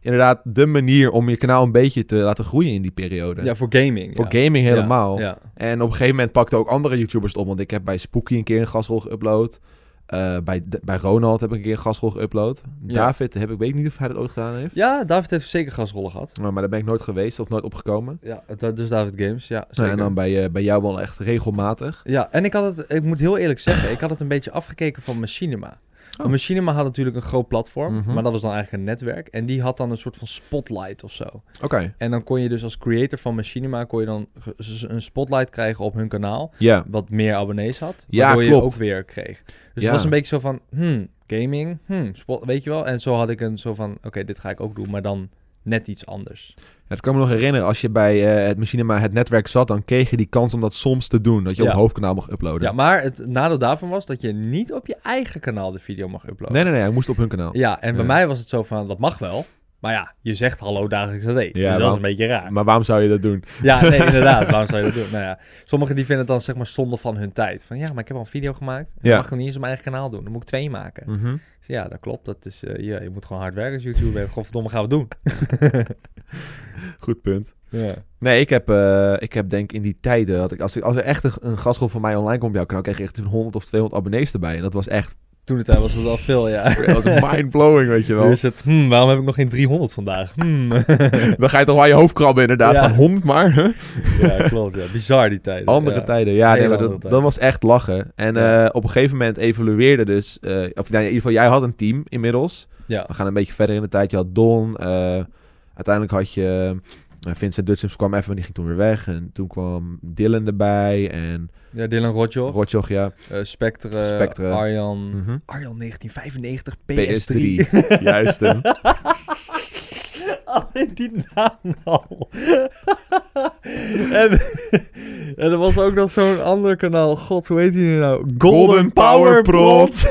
inderdaad de manier om je kanaal een beetje te laten groeien in die periode.
Ja, voor gaming.
Voor
ja.
gaming helemaal.
Ja.
En op een gegeven moment pakten ook andere YouTubers het op. Want ik heb bij Spooky een keer een gastrol geüpload. Eh, bij, bij Ronald heb ik een keer een gastrol geüpload.
Ja.
David, heb ik, weet ik niet of hij dat ooit gedaan heeft.
ja, David heeft zeker gasrollen gehad.
Maar, maar daar ben ik nooit geweest of nooit opgekomen.
Ja, dat, dus David Games, ja.
Nou,
Zeker.
en dan bij, eh, bij jou wel echt regelmatig.
Ja, en ik had het, ik moet heel eerlijk zeggen, ik had het een beetje afgekeken van Machinima. Want Machinima had natuurlijk een groot platform,
Oh. Mhm.
maar dat was dan eigenlijk een netwerk. En die had dan een soort van spotlight of zo.
Oké.
En dan kon je dus als creator van Machinima, kon je dan ge- z- een spotlight krijgen op hun kanaal.
Ja.
wat meer abonnees had.
Ja,
waardoor
klopt.
je ook weer kreeg.
Ja.
Dus het was een beetje zo van, hmm, gaming, hmm, sport, weet je wel. En zo had ik een zo van, oké, dit ga ik ook doen, maar dan net iets anders.
Ja, dat kan me nog herinneren. Als je bij eh, het Machinima het netwerk zat, dan kreeg je die kans om dat soms te doen. Dat je op
Ja.
het hoofdkanaal mocht uploaden.
Ja, maar het nadeel daarvan was dat je niet op je eigen kanaal de video mag uploaden.
Nee, nee, nee. Hij moest op hun kanaal.
Ja, en bij
Ja.
mij was het zo van, dat mag wel. Maar ja, je zegt hallo dagelijks AD. dus dat
waarom-
is een beetje raar.
Maar waarom zou je dat doen?
Ja, nee, inderdaad. Waarom zou je dat doen? Nou ja, sommigen die vinden het dan zeg maar zonde van hun tijd. Van ja, maar ik heb al een video gemaakt. En
Ja.
mag ik hem niet eens op mijn eigen kanaal doen. Dan moet ik twee maken.
Mhm.
Dus Ja, dat klopt. Dat is, eh, ja, je moet gewoon hard werken als YouTuber. En godverdomme gaan we het doen.
Goed punt.
Ja.
Nee, ik heb, eh, ik heb denk in die tijden, had ik, als, ik, als er echt een, een gastrol van mij online kwam op jouw kanaal, kreeg je echt 100 of 200 abonnees erbij. En dat was echt
Toen het tijd was het al veel, ja.
dat was mind-blowing, weet je
Nu
wel.
is het, hmm, waarom heb ik nog geen 300 vandaag? Hmm.
Dan ga je toch wel aan je hoofd krabben inderdaad,
Ja.
van hond maar. hè?
ja, klopt. Ja. Bizar die tijd.
Andere tijden, ja, nee,
Hele
maar dat,
andere tijden.
dat was echt lachen. En
Ja.
eh, op een gegeven moment evolueerde dus, eh, of nou, in ieder geval jij had een team inmiddels.
Ja.
We gaan een beetje verder in de tijd. Je had Don. eh, uiteindelijk had je eh, Vincent Dutchums kwam even, maar die ging toen weer weg. En toen kwam Dylan erbij en
ja, Dylan Rotjoch,
Rotjoch, ja.
eh, Spectre,
Spectre.
Arjan...
Mhm.
Arjan 1995, PS3.
PS3. Juist hem.
Alleen die naam al. en, en er was ook nog zo'n ander kanaal. God, hoe heet die nu nou?
Golden Power Prod.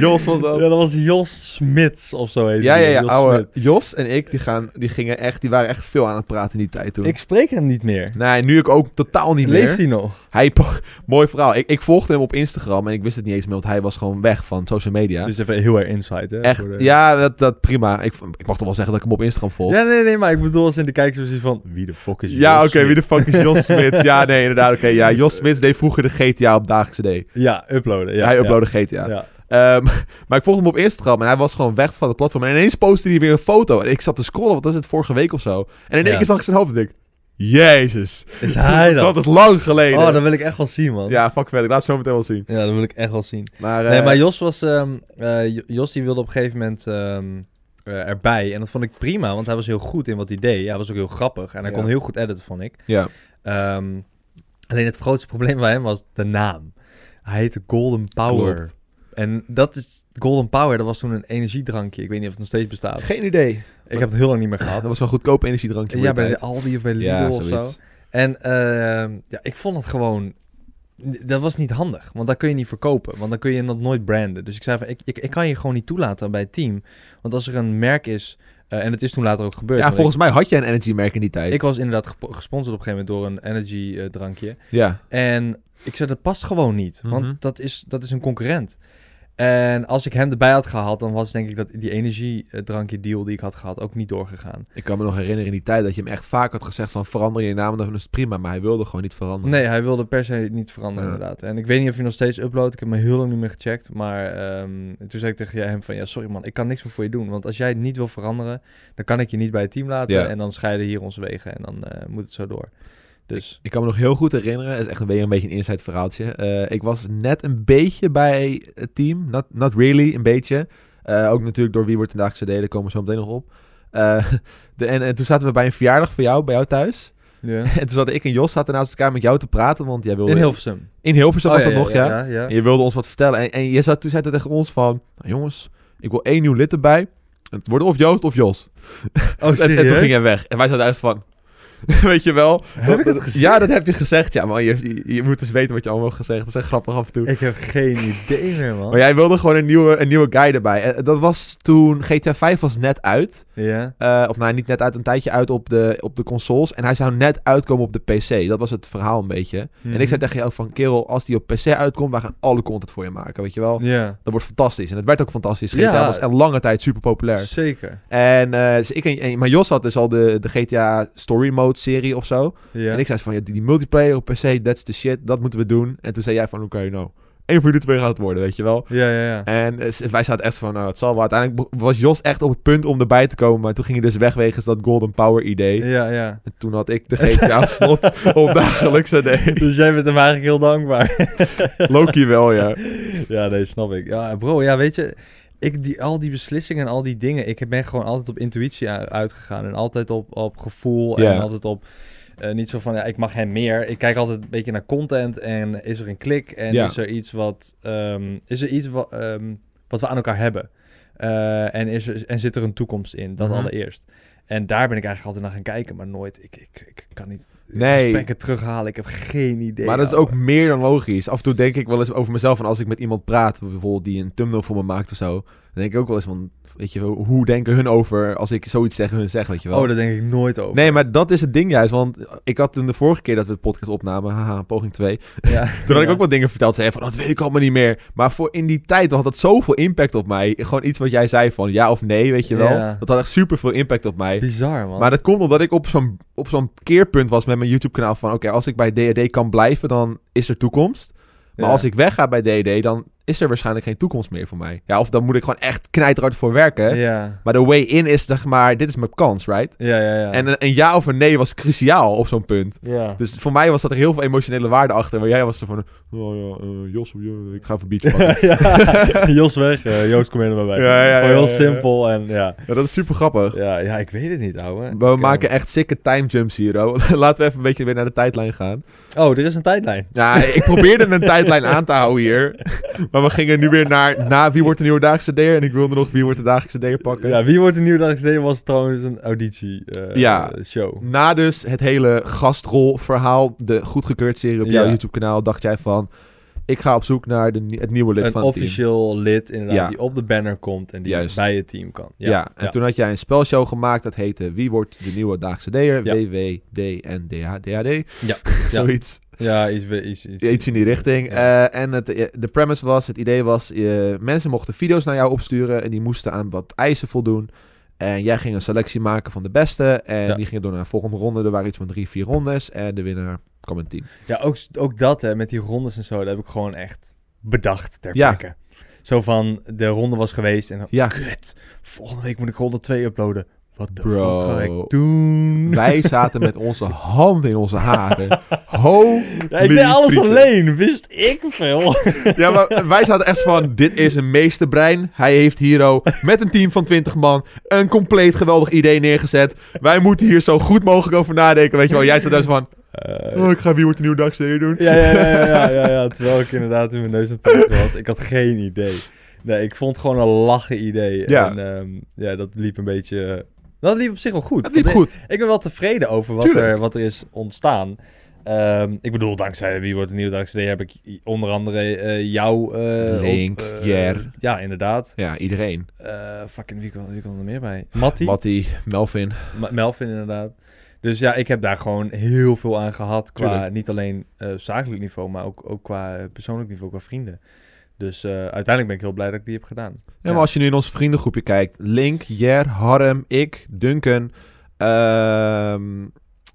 Jos was dat.
Ja, dat was Jos Smits of zo heet
Ja,
hij,
ja, ja.
Jos
Oude
Smit.
Jos en ik, die, gaan, die, gingen echt, die waren echt veel aan het praten in die tijd toen.
Ik spreek hem niet meer.
Nee, nu ik ook totaal niet meer.
Leeft hij nog?
Hij, po- mooi verhaal. Ik, ik volgde hem op Instagram en ik wist het niet eens meer, want hij was gewoon weg van social media.
Dus even heel erg insight, hè?
echt,
voor de-
ja, dat, dat prima. Ik, ik mag toch wel zeggen dat ik hem op Instagram volg.
Ja, nee, nee, maar ik bedoel als in de kijkers precies van... Wie de fuck is
Ja,
Jos
oké, wie de fuck is Jos Smits? Ja, nee, inderdaad, oké. ja, Jos Smits deed vroeger de GTA op Dagelijkse D.
fuck? Ja, uploaden. Ja,
hij
ja,
uploadde GTA.
Ja.
Ehm, maar ik volgde hem op Instagram en hij was gewoon weg van het platform. En ineens postte hij weer een foto. En ik zat te scrollen, want dat is het vorige week of zo. En in één
Ja.
keer zag ik zijn hoofd en ik... Jezus,
Is hij dat?
dat is lang geleden.
Oh, dat wil ik echt wel zien, man.
Ja, fuck verder. Ik laat het zo meteen wel zien.
Ja, dat wil ik echt wel zien.
Maar,
Nee,
eh,
maar Jos was... ehm, eh, Jo- Jos die wilde op een gegeven moment ehm, eh, erbij. En dat vond ik prima, want hij was heel goed in wat hij deed. Ja, hij was ook heel grappig. En hij
Ja.
kon heel goed editen, vond ik.
Ja.
Ehm, alleen het grootste probleem bij hem was de naam. Hij heette Golden Power.
Klopt.
En dat is... Golden Power, dat was toen een energiedrankje. Ik weet niet of het nog steeds bestaat.
Geen idee.
Ik heb het heel lang niet meer
Dat
gehad.
was wel een goedkoop energiedrankje.
ja, bij de Aldi of bij Lidl
ja,
of zo.
zoiets.
En ehm, ja, ik vond het gewoon... Dat was niet handig, want dat kun je niet verkopen. Want dan kun je dat nooit branden. Dus ik zei van, ik, ik, ik kan je gewoon niet toelaten bij het team. Want als er een merk is, eh, en het is toen later ook gebeurd.
Ja,
want
volgens mij had je een energy-merk in die tijd.
ik, ik was inderdaad gepo- gesponsord op een gegeven moment door een energy eh, drankje.
ja.
En ik zei, dat past gewoon niet. Want
Mhm.
dat, is, dat is een concurrent. En als ik hem erbij had gehaald, dan was denk ik dat die energiedrankje deal die ik had gehad ook niet doorgegaan.
Ik kan me nog herinneren in die tijd dat je hem echt vaak had gezegd van verander je naam, dan is het prima. Maar hij wilde gewoon niet veranderen.
Nee, hij wilde per se niet veranderen,
Ja.
inderdaad. En ik weet niet of hij nog steeds uploadt. Ik heb me heel lang niet meer gecheckt. Maar ehm, toen zei ik tegen hem van... Ja, sorry man, ik kan niks meer voor je doen. Want als jij het niet wil veranderen... dan kan ik je niet bij het team laten.
Ja.
En dan scheiden hier onze wegen. En dan eh, moet het zo door. Dus...
Ik kan me nog heel goed herinneren, het is echt weer een beetje een inside verhaaltje. Eh, ik was net een beetje bij het team, not, not really, een beetje. Eh, ook natuurlijk door Wie wordt vandaag CD, daar komen we zo meteen nog op. Eh, de, en, en toen zaten we bij een verjaardag van jou, bij jou thuis.
Ja.
En toen zaten ik en Jos zaten naast elkaar met jou te praten, want jij wilde...
In Hilversum.
in Hilversum was
Oh,
dat nog, ja.
Ja, ja.
En je wilde ons wat vertellen. En, en je zat, toen zei het tegen ons van, "Nou, jongens, ik wil één nieuw lid erbij. Het wordt of Joost of Jos.
Oh,
En, en
serieus?
toen ging hij weg. En wij zaten uit van... Weet je wel?
Heb ik dat gezegd?
Ja, dat heb je gezegd. Ja, man, je, je- je moet dus weten wat je allemaal hebt gezegd. Dat is echt grappig af en toe.
Ik heb geen idee meer, man.
Maar jij wilde gewoon een nieuwe, een nieuwe guy erbij. En dat was toen... GTA 5 was net uit.
Ja.
Eh, of nou, niet net uit, een tijdje uit op de, op de consoles. En hij zou net uitkomen op de PC. Dat was het verhaal een beetje. En
Mhm.
ik zei tegen jou van... Kerel, als die op PC uitkomt, wij gaan alle content voor je maken. Weet je wel?
Ja,
Dat wordt fantastisch. En het werd ook fantastisch. GTA
Ja.
was een lange tijd super populair.
zeker.
En, eh, dus ik en, en- maar Jos had dus al de, de GTA Story Mode serie of zo.
Ja.
En ik zei van, ja, die, die multiplayer op PC, that's the shit, dat moeten we doen. En toen zei jij van, oké, nou, één van jullie twee gaat het worden, weet je wel.
Ja, ja, ja.
En eh, wij zaten echt van, nou, het zal wel. Uiteindelijk be- was Jos echt op het punt om erbij te komen, maar toen ging hij dus weg wegens dat Golden Power idee.
Ja, ja.
En toen had ik de GTA slot op dagelijkse day.
Dus jij bent hem eigenlijk heel dankbaar.
Loki wel, Oh ja.
Ja, nee, snap ik. Ja, bro, ja, weet je, ik die, al die beslissingen en al die dingen, ik ben gewoon altijd op intuïtie u- uitgegaan en altijd op, op gevoel
Ja.
en altijd op eh, niet zo van, ja, ik mag hem meer. Ik kijk altijd een beetje naar content en is er een klik en
Ja.
is er iets wat, ehm, is er iets wat, ehm, wat we aan elkaar hebben Eh, en, is er, en zit er een toekomst in, dat
Mhm.
allereerst. En daar ben ik eigenlijk altijd naar gaan kijken, maar nooit. Ik, ik, ik kan niet
Nee.
gesprekken terughalen. Ik heb geen idee. Oh.
Maar dat is
ouwe.
ook meer dan logisch. Af en toe denk ik wel eens over mezelf. En als ik met iemand praat, bijvoorbeeld die een thumbnail voor me maakt of zo. Dan denk ik ook wel eens van, weet je, wel, hoe denken hun over als ik zoiets tegen hun zeg, weet je wel.
Oh, daar denk ik nooit over.
Nee, maar dat is het ding juist. Want ik had toen de vorige keer dat we de podcast opnamen, haha, poging 2.
Ja.
Toen had ik
Ja.
ook wat dingen verteld. Zei van, oh, dat weet ik allemaal niet meer. Maar voor in die tijd had dat zoveel impact op mij. Gewoon iets wat jij zei van ja of nee, weet je wel.
Ja.
Dat had echt super veel impact op mij.
Bizar, man.
Maar dat komt omdat ik op zo'n, op zo'n keerpunt was met mijn YouTube-kanaal van... oké, als ik bij DAD kan blijven, dan is er toekomst. Maar
Ja.
als ik wegga bij DAD, dan is er waarschijnlijk geen toekomst meer voor mij. Ja, of dan moet ik gewoon echt knijterhard voor werken.
Ja.
Maar de way in is zeg maar, dit is mijn kans, right?
Ja, ja, ja.
En een, een ja of een nee was cruciaal op zo'n punt.
ja.
Dus voor mij was dat er heel veel emotionele waarde achter. Maar jij was er van, oh ja, eh, Jos, eh, ik ga even beach pakken.
ja, Jos weg, eh, Joost kom je er maar bij.
Ja, ja, ja,
Gewoon heel
ja, ja.
simpel en ja.
Ja, dat is super grappig.
ja. Ja, ik weet het niet, ouwe.
We
Ik, eh,
maken echt sikke time jumps hier, oh. Laten we even een beetje weer naar de tijdlijn gaan.
eh, Oh, er is een tijdlijn.
Ja, ik probeerde een tijdlijn aan te houden hier. Maar we gingen nu weer naar na wie wordt de nieuwe dagelijkse DR. En ik wilde nog wie wordt de dagelijkse DR pakken.
Ja, Wie wordt de Nieuwe Dagelijks Leven was trouwens een auditie eh,
Ja.
eh, show.
Na dus het hele gastrolverhaal, de goedgekeurd serie op
Ja.
jouw YouTube-kanaal, dacht jij van... ik ga op zoek naar de, nie- het nieuwe lid
een
van het team.
officieel lid inderdaad
Ja.
die op de banner komt en die
Juist.
bij het team kan. Ja,
Ja, en toen had jij een spelshow gemaakt dat heette Wie wordt de nieuwe Daagse D'er?
Ja.
WWDNDHDHD.
Ja,
Zoiets.
ja iets, iets, iets,
Iets in die richting. Eh, en het, eh, de premise was, het idee was, eh, mensen mochten video's naar jou opsturen en die moesten aan wat eisen voldoen. En jij ging een selectie maken van de beste en
Ja.
die gingen door naar de volgende ronde. Er waren iets van drie, vier rondes en de winnaar kwam in het team.
Ja, ook, ook dat hè, met die rondes en zo, dat heb ik gewoon echt bedacht ter
Ja.
plekke. Zo van, de ronde was geweest en dan,
Ja.
kut, volgende week moet ik ronde 2 uploaden. Wat de
Bro.
fuck ga ik doen?
Wij zaten met onze handen in onze haren. Ho!
Ja, ik deed alles
frieten.
alleen, wist ik veel.
Ja, maar wij zaten echt van, dit is een meesterbrein. Hij heeft Hero met een team van 20 man een compleet geweldig idee neergezet. Wij moeten hier zo goed mogelijk over nadenken, weet je wel. Jij zat daar zo van,
Eh,
oh, ik ga Wie Wordt de Nieuwe Dagster doen.
ja, ja, ja, ja, ja, ja, ja, terwijl ik inderdaad in mijn neus aan het plakken was. Ik had geen idee. Nee, ik vond het gewoon een lachen idee.
Ja.
En ehm, ja, dat liep een beetje... eh, Dat liep op zich wel goed.
Het liep
Want
goed.
Ik ben wel tevreden over wat,
Tuurlijk.
er, wat er is ontstaan. Ehm, ik bedoel, dankzij Wie Wordt de Nieuwe Dankzij heb ik i- onder andere eh jou... eh,
Link,
eh,
Jer.
Ja, inderdaad.
Ja, iedereen.
Eh, fucking, wie kwam, wie kwam er meer bij? Mattie?
Matty, Melvin.
Ma- Melvin inderdaad. Dus ja, ik heb daar gewoon heel veel aan gehad. Qua
Tuurlijk.
niet alleen eh, zakelijk niveau, maar ook, ook qua eh, persoonlijk niveau, qua vrienden. Dus eh, uiteindelijk ben ik heel blij dat ik die heb gedaan.
Ja, maar als je nu in ons vriendengroepje kijkt. Link, Jer, Harm, ik, Duncan, ehm,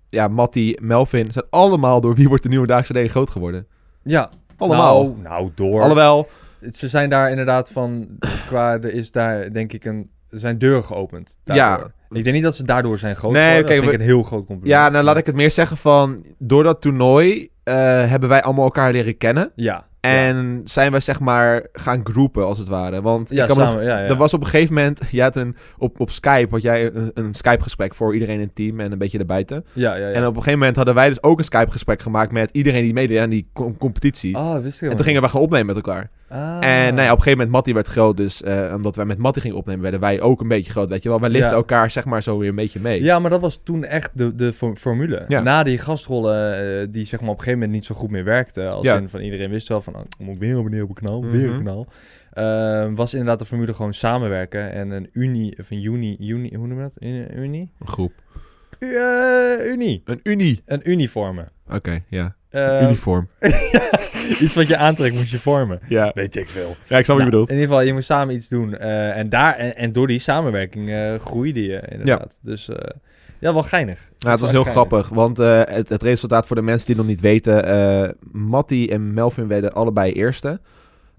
ja, Matty, Melvin. Zijn allemaal door Wie Wordt de Nieuwe Daagse Reden groot geworden.
Ja,
Allemaal.
Nou, nou door.
Alhoewel,
Ze zijn daar inderdaad van, qua, er is daar denk ik een, er zijn deuren geopend. daardoor. Ik denk niet dat ze daardoor zijn groot
Nee,
geworden.
kijk,
dat vind ik een heel groot compliment.
Ja, nou laat ik het meer zeggen van... Door dat toernooi eh, hebben wij allemaal elkaar leren kennen.
Ja.
En zijn wij zeg maar gaan groepen als het ware. Want
ja,
ik kan me nog-
samen, ja, ja.
er was op een gegeven moment... Je had een, op, op Skype had jij een, een Skype gesprek voor iedereen in het team en een beetje erbuiten.
ja, ja, ja.
En op een gegeven moment hadden wij dus ook een Skype gesprek gemaakt met iedereen die meedeed aan die com- competitie.
Oh, dat wist ik Ah.
En toen gingen we gaan opnemen met elkaar. En nou ja, op een gegeven moment, Matty werd groot. Dus eh, omdat wij met Matty gingen opnemen, werden wij ook een beetje groot. Weet je wel, wij lichten
Ja.
elkaar zeg maar zo weer een beetje mee.
Ja, maar dat was toen echt de, de for- formule.
Ja.
Na die gastrollen, eh, die zeg maar op een gegeven moment niet zo goed meer werkte. Als
Ja.
in van iedereen wist wel van, oh, moet ik weer op een nieuw knal, weer
Mhm.
een knal. Eh, was inderdaad de formule gewoon samenwerken en een unie, of een unie, unie hoe noem je dat? Unie? Unie?
Een groep.
U- eh, unie.
Een unie.
Een uniformen.
Oké, ja.
Eh,
Uniform.
iets wat je aantrekt moet je vormen.
Ja.
Weet ik veel.
ja, ik snap
Nou, in ieder geval, je moet samen iets doen. eh, en, daar, en, en door die samenwerking eh, groeide je inderdaad. Dus eh, ja, wel geinig.
Nou, het was heel grappig, want eh, het, het resultaat voor de mensen die het nog niet weten... eh Matty en Melvin werden allebei eerste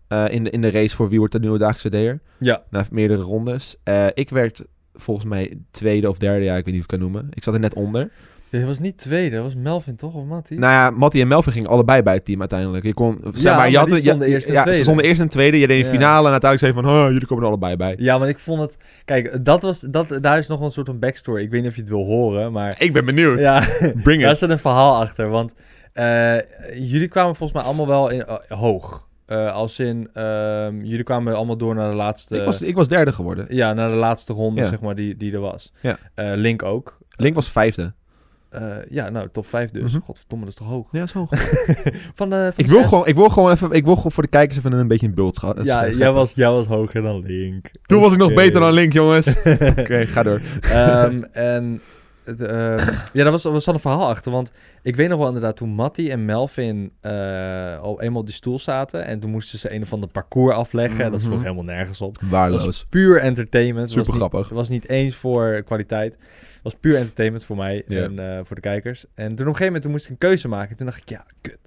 eh, in, de, in de race voor Wie wordt de Nieuwe Daagse D'er.
Ja.
Na meerdere rondes. Eh, ik werd volgens mij tweede of derde, ja, ik weet niet of ik het kan noemen. Ik zat er net onder.
Dit was niet tweede, dat was Melvin toch? Of Matty?
Nou ja, Matty en Melvin gingen allebei bij het team uiteindelijk. Je kon, zeg
Ja,
maar, je
maar
had,
die
een-
stonden
ja,
eerst en
ja,
tweede.
ze stonden eerst en tweede. Je deed de
Ja.
finale en uiteindelijk zei je van... Oh, jullie komen er allebei bij.
Ja, want ik vond het... Kijk, dat was, dat, daar is nog een soort van backstory. Ik weet niet of je het wil horen, maar...
Ik ben benieuwd.
Ja,
Bring
daar
it.
zit een verhaal achter. Want eh, jullie kwamen volgens mij allemaal wel in, eh, hoog. Eh, als in, ehm, jullie kwamen allemaal door naar de laatste...
Ik was, ik was derde geworden.
Ja, naar de laatste ronde,
Ja.
zeg maar, die, die er was.
Ja.
Eh, Link ook.
Link was vijfde.
Eh, ja, nou, top 5 dus.
Mhm.
Godverdomme, dat is toch hoog?
Ja, zo.
Van de, van
Ik
de
wil,
zes?
gewoon, ik wil gewoon even, ik wil gewoon voor de kijkers even een beetje een beeld scha-
Ja,
scheppen.
jij was, jij was hoger dan Link.
Toen was ik nog
Oké.
beter dan Link, jongens. Oké, ga door.
Ehm, en het, ehm, ja, daar was, was dan een verhaal achter. Want ik weet nog wel inderdaad toen Matty en Melvin eh, al eenmaal op die stoel zaten. En toen moesten ze een of ander parcours afleggen. en Dat
Mhm.
sloeg helemaal nergens op. Het
Waardeloos.
was puur entertainment. Het was
Super
niet-
grappig.
Het was niet eens voor kwaliteit. Het was puur entertainment voor mij
Ja.
en eh, voor de kijkers. En toen op een gegeven moment toen moest ik een keuze maken. Toen dacht ik, ja, kut.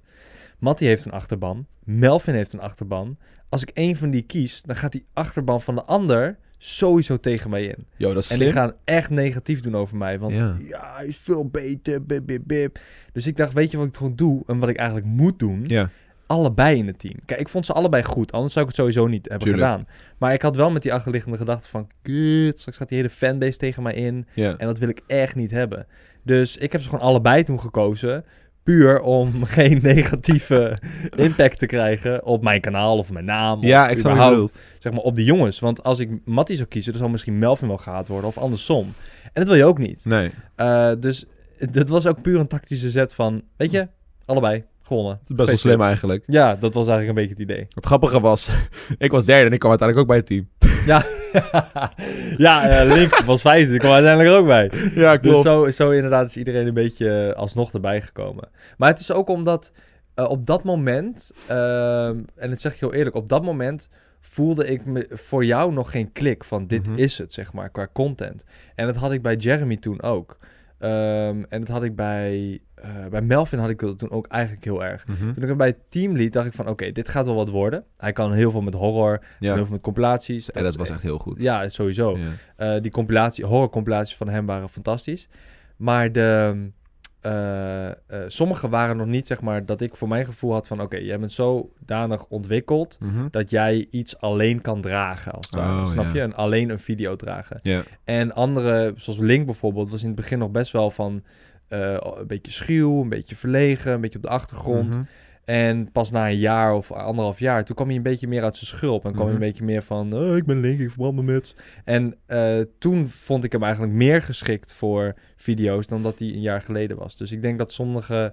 Matty heeft een achterban. Melvin heeft een achterban. Als ik één van die kies, dan gaat die achterban van de ander sowieso tegen mij in.
Yo, dat is
En
slim.
die gaan echt negatief doen over mij. Want
Ja.
ja, hij is veel beter. Bip, bip, bip. Dus ik dacht, weet je wat ik gewoon doe? En wat ik eigenlijk moet doen?
Ja.
Allebei in het team. Kijk, ik vond ze allebei goed. Anders zou ik het sowieso niet hebben
Tuurlijk.
gedaan. Maar ik had wel met die achterliggende gedachte van... Kut, straks gaat die hele fanbase tegen mij in.
ja.
En dat wil ik echt niet hebben. Dus ik heb ze gewoon allebei toen gekozen. Puur om geen negatieve impact te krijgen op mijn kanaal of mijn naam. of
Ja, ik snap
überhaupt
het.
zeg maar, op de jongens. Want als ik Matty zou kiezen, dan zou misschien Melvin wel gehaald worden of andersom. En dat wil je ook niet.
Nee.
Eh, dus dat was ook puur een tactische zet van, weet je, allebei. gewonnen.
Het is best wel slim eigenlijk.
Ja, dat was eigenlijk een beetje het idee.
Het grappige was, ik was derde en ik kwam uiteindelijk ook bij het team.
ja, eh, Link was vijfde, die kwam uiteindelijk er ook bij.
Ja,
Dus zo, zo inderdaad is iedereen een beetje eh, alsnog erbij gekomen. Maar het is ook omdat eh, op dat moment, ehm, en dat zeg ik heel eerlijk, op dat moment voelde ik me voor jou nog geen klik van dit
Mhm.
is het, zeg maar, qua content. En dat had ik bij Jeremy toen ook. Ehm, en dat had ik bij, eh, bij Melvin had ik dat toen ook eigenlijk heel erg.
Mhm.
Toen ik hem bij het team liet, dacht ik van oké, dit gaat wel wat worden. Hij kan heel veel met horror, en heel
Ja,
veel met compilaties.
en dat was echt heel goed.
Ja, sowieso.
Ja.
Eh, die compilatie, horrorcompilaties van hem waren fantastisch. Maar de, eh, eh, sommige waren nog niet, zeg maar, dat ik voor mijn gevoel had van... oké, jij bent zodanig ontwikkeld
Mhm.
dat jij iets alleen kan dragen, als het ware.
Oh,
snap
ja.
je? En alleen een video dragen.
Ja.
En andere, zoals Link bijvoorbeeld, was in het begin nog best wel van... eh, een beetje schuw, een beetje verlegen, een beetje op de achtergrond.
Mhm.
En pas na een jaar of anderhalf jaar, toen kwam hij een beetje meer uit zijn schulp. En kwam
Mhm.
hij een beetje meer van, "Oh, ik ben Link, ik verbrand mijn muts. En eh, toen vond ik hem eigenlijk meer geschikt voor video's dan dat hij een jaar geleden was. Dus ik denk dat sommige...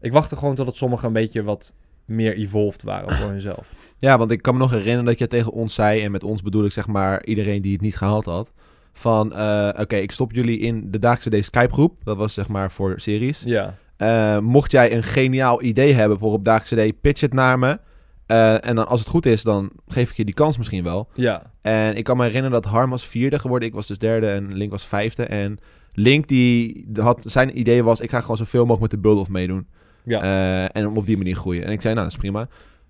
Ik wachtte gewoon totdat sommigen een beetje wat meer evolved waren voor hunzelf.
Ja, want ik kan me nog herinneren dat je tegen ons zei, en met ons bedoel ik zeg maar iedereen die het niet gehaald had, van eh, oké, ik stop jullie in de Daagse D Skype groep, dat was zeg maar voor series.
Ja,
Eh, mocht jij een geniaal idee hebben voor op Daagse D, pitch het naar me. Eh, en dan als het goed is, dan geef ik je die kans misschien wel.
ja,
En ik kan me herinneren dat Harm was vierde geworden. Ik was dus derde en Link was vijfde. En Link, die had, zijn idee was... ik ga gewoon zoveel mogelijk met de Bulldog meedoen.
Ja.
Eh, en om op die manier groeien. En ik zei, nou, dat is prima.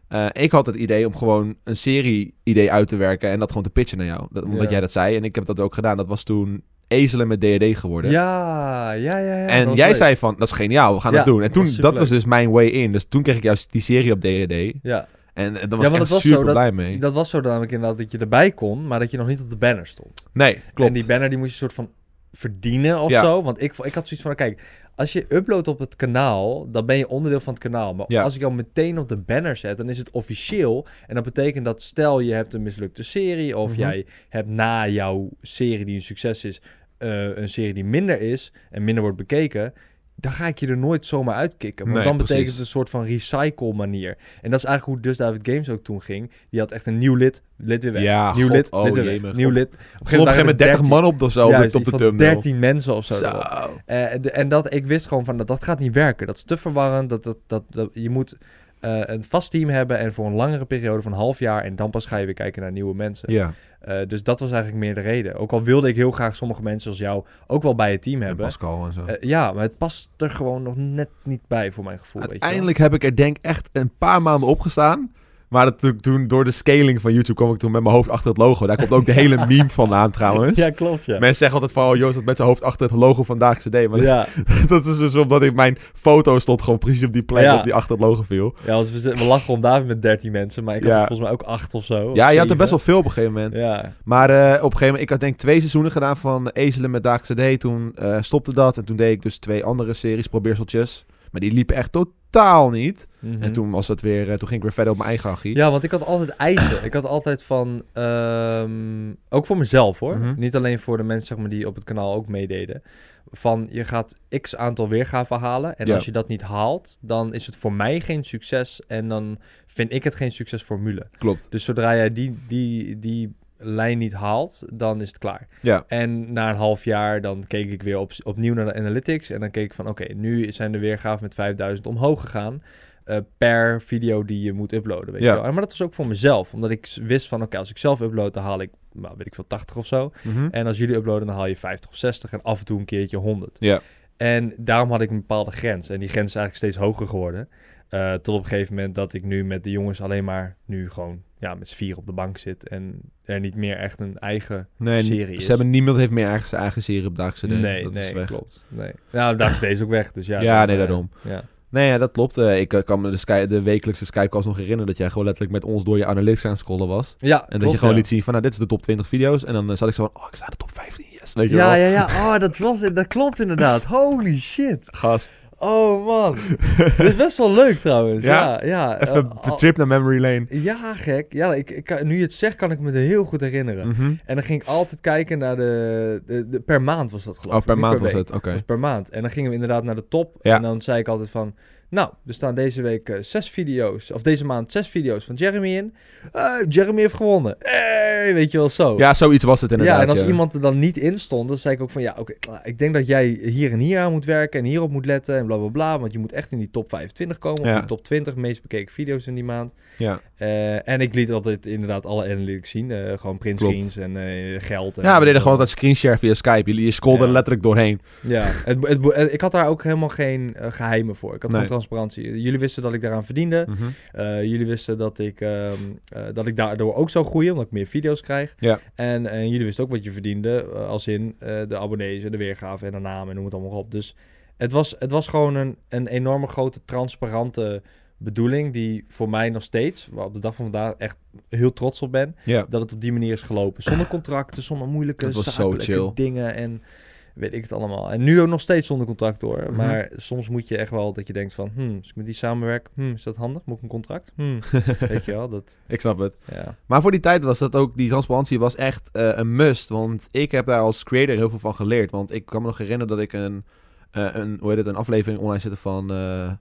Eh, ik had het idee om gewoon een serie-idee uit te werken... en dat gewoon te pitchen naar jou. Dat, omdat
Ja.
jij dat zei. En ik heb dat ook gedaan. Dat was toen ezelen met D&D geworden.
ja, ja, ja. ja, dat
en
was
jij
leuk.
zei van, dat is geniaal, we gaan
Ja,
dat doen. En
dat
toen,
was
dat was
superleuk.
dus mijn way in. Dus toen kreeg ik juist die serie op D&D.
Ja,
En, en daar
Ja,
was
maar
ik
dat
echt
was zo,
super blij mee.
dat was zo namelijk inderdaad dat je erbij kon, maar dat je nog niet op de banner stond.
Nee, klopt.
En die banner die moest je soort van verdienen of
Ja.
zo. Want ik, vo- ik had zoiets van, kijk, als je uploadt op het kanaal, dan ben je onderdeel van het kanaal. Maar
Ja.
als ik jou meteen op de banner zet, dan is het officieel. En dat betekent dat stel je hebt een mislukte serie of
Mhm.
jij hebt na jouw serie die een succes is, eh, een serie die minder is en minder wordt bekeken. Dan ga ik je er nooit zomaar uitkicken. Want
Nee,
dan betekent
precies.
het een soort van recycle manier. En dat is eigenlijk hoe Dus David Games ook toen ging. Die had echt een nieuw lid, lid weer weg.
Ja,
nieuw
god,
lid,
oh,
lid weer
jemig.
weg. Nieuw
Op-
lid.
Er stonden op een gegeven moment 30 man op of zo op
Juist,
de- op
iets
de
van
thumbnail.
13 mensen of zo.
Zo.
erop. Eh, de- en dat, ik wist gewoon van, dat, dat gaat niet werken. Dat is te verwarrend. Dat, dat, dat, dat- je moet eh, een vast team hebben en voor een langere periode van een half jaar. En dan pas ga je weer kijken naar nieuwe mensen.
Ja,
Eh, dus dat was eigenlijk meer de reden. Ook al wilde ik heel graag sommige mensen als jou ook wel bij het team
en
hebben.
Pascal en zo.
Eh, ja, maar het past er gewoon nog net niet bij voor mijn gevoel. weet je wel.
Uiteindelijk heb ik er denk echt een paar maanden op gestaan. Maar dat toen- toen, door de scaling van YouTube kwam ik toen met mijn hoofd achter het logo. Daar komt ook de hele meme vandaan trouwens.
Ja, klopt, ja.
Mensen zeggen altijd van, oh Joost dat met zijn hoofd achter het logo vandaag CD. Maar
ja.
dat is dus omdat ik mijn foto stond gewoon precies op die plek
Ja. Oh,
op die achter het logo viel.
Ja, want we, z- we lachen om David met 13 mensen, maar ik had
Ja.
er volgens mij ook 8 of zo. of
Ja, je had er
zeven.
best wel veel op een gegeven moment.
Ja,
Maar eh, op een gegeven moment, ik had denk ik twee seizoenen gedaan van Ezelen met Daagse D. Toen eh, stopte dat en toen deed ik dus twee andere series, probeerseltjes. Maar die liepen echt totaal niet.
Mhm.
En toen was dat weer, eh, toen ging ik weer verder op mijn eigen archie.
Ja, want ik had altijd eisen. Ik had altijd van, ehm, ook voor mezelf hoor.
Mhm.
Niet alleen voor de mensen zeg maar, die op het kanaal ook meededen. Van je gaat x aantal weergaven halen. En
Ja.
als je dat niet haalt, dan is het voor mij geen succes. En dan vind ik het geen succesformule.
Klopt.
Dus zodra jij die, die, die lijn niet haalt, dan is het klaar.
Ja.
En na een half jaar, dan keek ik weer op, opnieuw naar de analytics. En dan keek ik van, oké, nu zijn de weergaven met 5000 omhoog gegaan. eh, per video die je moet uploaden, weet
Ja.
je wel. En- Maar dat was ook voor mezelf. Omdat ik s- wist van, oké, als ik zelf upload, dan haal ik, nou, weet ik veel, 80 of zo.
Mhm.
En als jullie uploaden, dan haal je 50 of 60 en af en toe een keertje 100.
Ja.
En daarom had ik een bepaalde grens. En die grens is eigenlijk steeds hoger geworden. Eh, tot op een gegeven moment dat ik nu met de jongens alleen maar nu gewoon ja, met z'n vier op de bank zit. En er niet meer echt een eigen...
Nee,
Serie is.
ze hebben niemand heeft meer eigen, zijn eigen serie op Daagse D.
nee,
dat
nee,
is weg.
klopt. Nee. Nou, daar is deze ook weg. Dus ja,
Ja,
dan,
nee,
eh,
daarom.
Ja.
Nee, ja, dat klopt. Eh, ik eh, kan me de, sky, de wekelijkse Skype-calls nog herinneren dat jij gewoon letterlijk met ons door je analytics aan het scrollen was.
Eh, ja
En dat je gewoon liet zien van, nou, dit is de top 20 video's. En dan eh, zat ik zo van, oh, ik sta in de top 15, yes. Weet je
Ja,
wel?
ja, ja. Oh, dat, was, dat klopt inderdaad. Holy shit.
Gast,
Oh, man. Dit is best wel leuk trouwens.
Ja?
Ja, ja.
even
Eh,
een
al-
trip naar memory lane.
Ja, gek. Ja, ik, ik, kan- nu je het zegt, kan ik me er heel goed herinneren.
Mhm.
En dan ging ik altijd kijken naar de... de, de- per maand was dat geloof ik.
Oh, per
niet
maand was
week.
het, oké.
Dat was per maand. En dan gingen we inderdaad naar de top.
Ja.
En dan zei ik altijd van... Nou, er staan deze week eh, zes video's, of deze maand zes video's van Jeremy in. Eh, Jeremy heeft gewonnen. Hey, weet je wel zo.
oh. Ja, zoiets was het inderdaad.
Ja, en als iemand er dan niet in stond, dan zei ik ook van ja, oké, nou, ik denk dat jij hier en hier aan moet werken en hierop moet letten en bla bla bla. Want je moet echt in die top 25 komen,
Ja.
of die top 20 meest bekeken video's in die maand.
Ja.
Eh, en ik liet altijd inderdaad alle analytics zien, eh, gewoon printscreens en eh, geld. En
ja, we deden gewoon dat screenshare via Skype. Jullie je scrollden
Ja.
er letterlijk doorheen.
Ja, het, het, het- ik had daar ook helemaal geen eh, geheimen voor. Ik had gewoon
Nee.
transparantie. Jullie wisten dat ik daaraan verdiende.
Mhm.
Eh, jullie wisten dat ik, ehm, eh, dat ik daardoor ook zou groeien, omdat ik meer video's krijg.
Ja.
En, eh, jullie wisten ook wat je verdiende, eh, als in eh, de abonnees en de weergave en de naam en noem het allemaal op. Dus het was, het was gewoon een, een enorme grote transparante bedoeling die voor mij nog steeds, waar op de dag van vandaag echt heel trots op ben,
Ja.
dat het op die manier is gelopen. Zonder contracten, zonder moeilijke
Dat was zo
zakelijke
chill.
dingen en weet ik het allemaal. En nu ook nog steeds zonder contract hoor.
Mhm.
Maar soms moet je echt wel dat je denkt van, hmm, als ik met die samenwerk, hmm, is dat handig? Moet ik een contract? Hmm. weet je wel, dat,
Ik snap het.
ja.
Maar voor die tijd was dat ook, die transparantie was echt eh, een must. Want ik heb daar als creator heel veel van geleerd. Want ik kan me nog herinneren dat ik een, eh, een hoe heet het, een aflevering online zette van, eh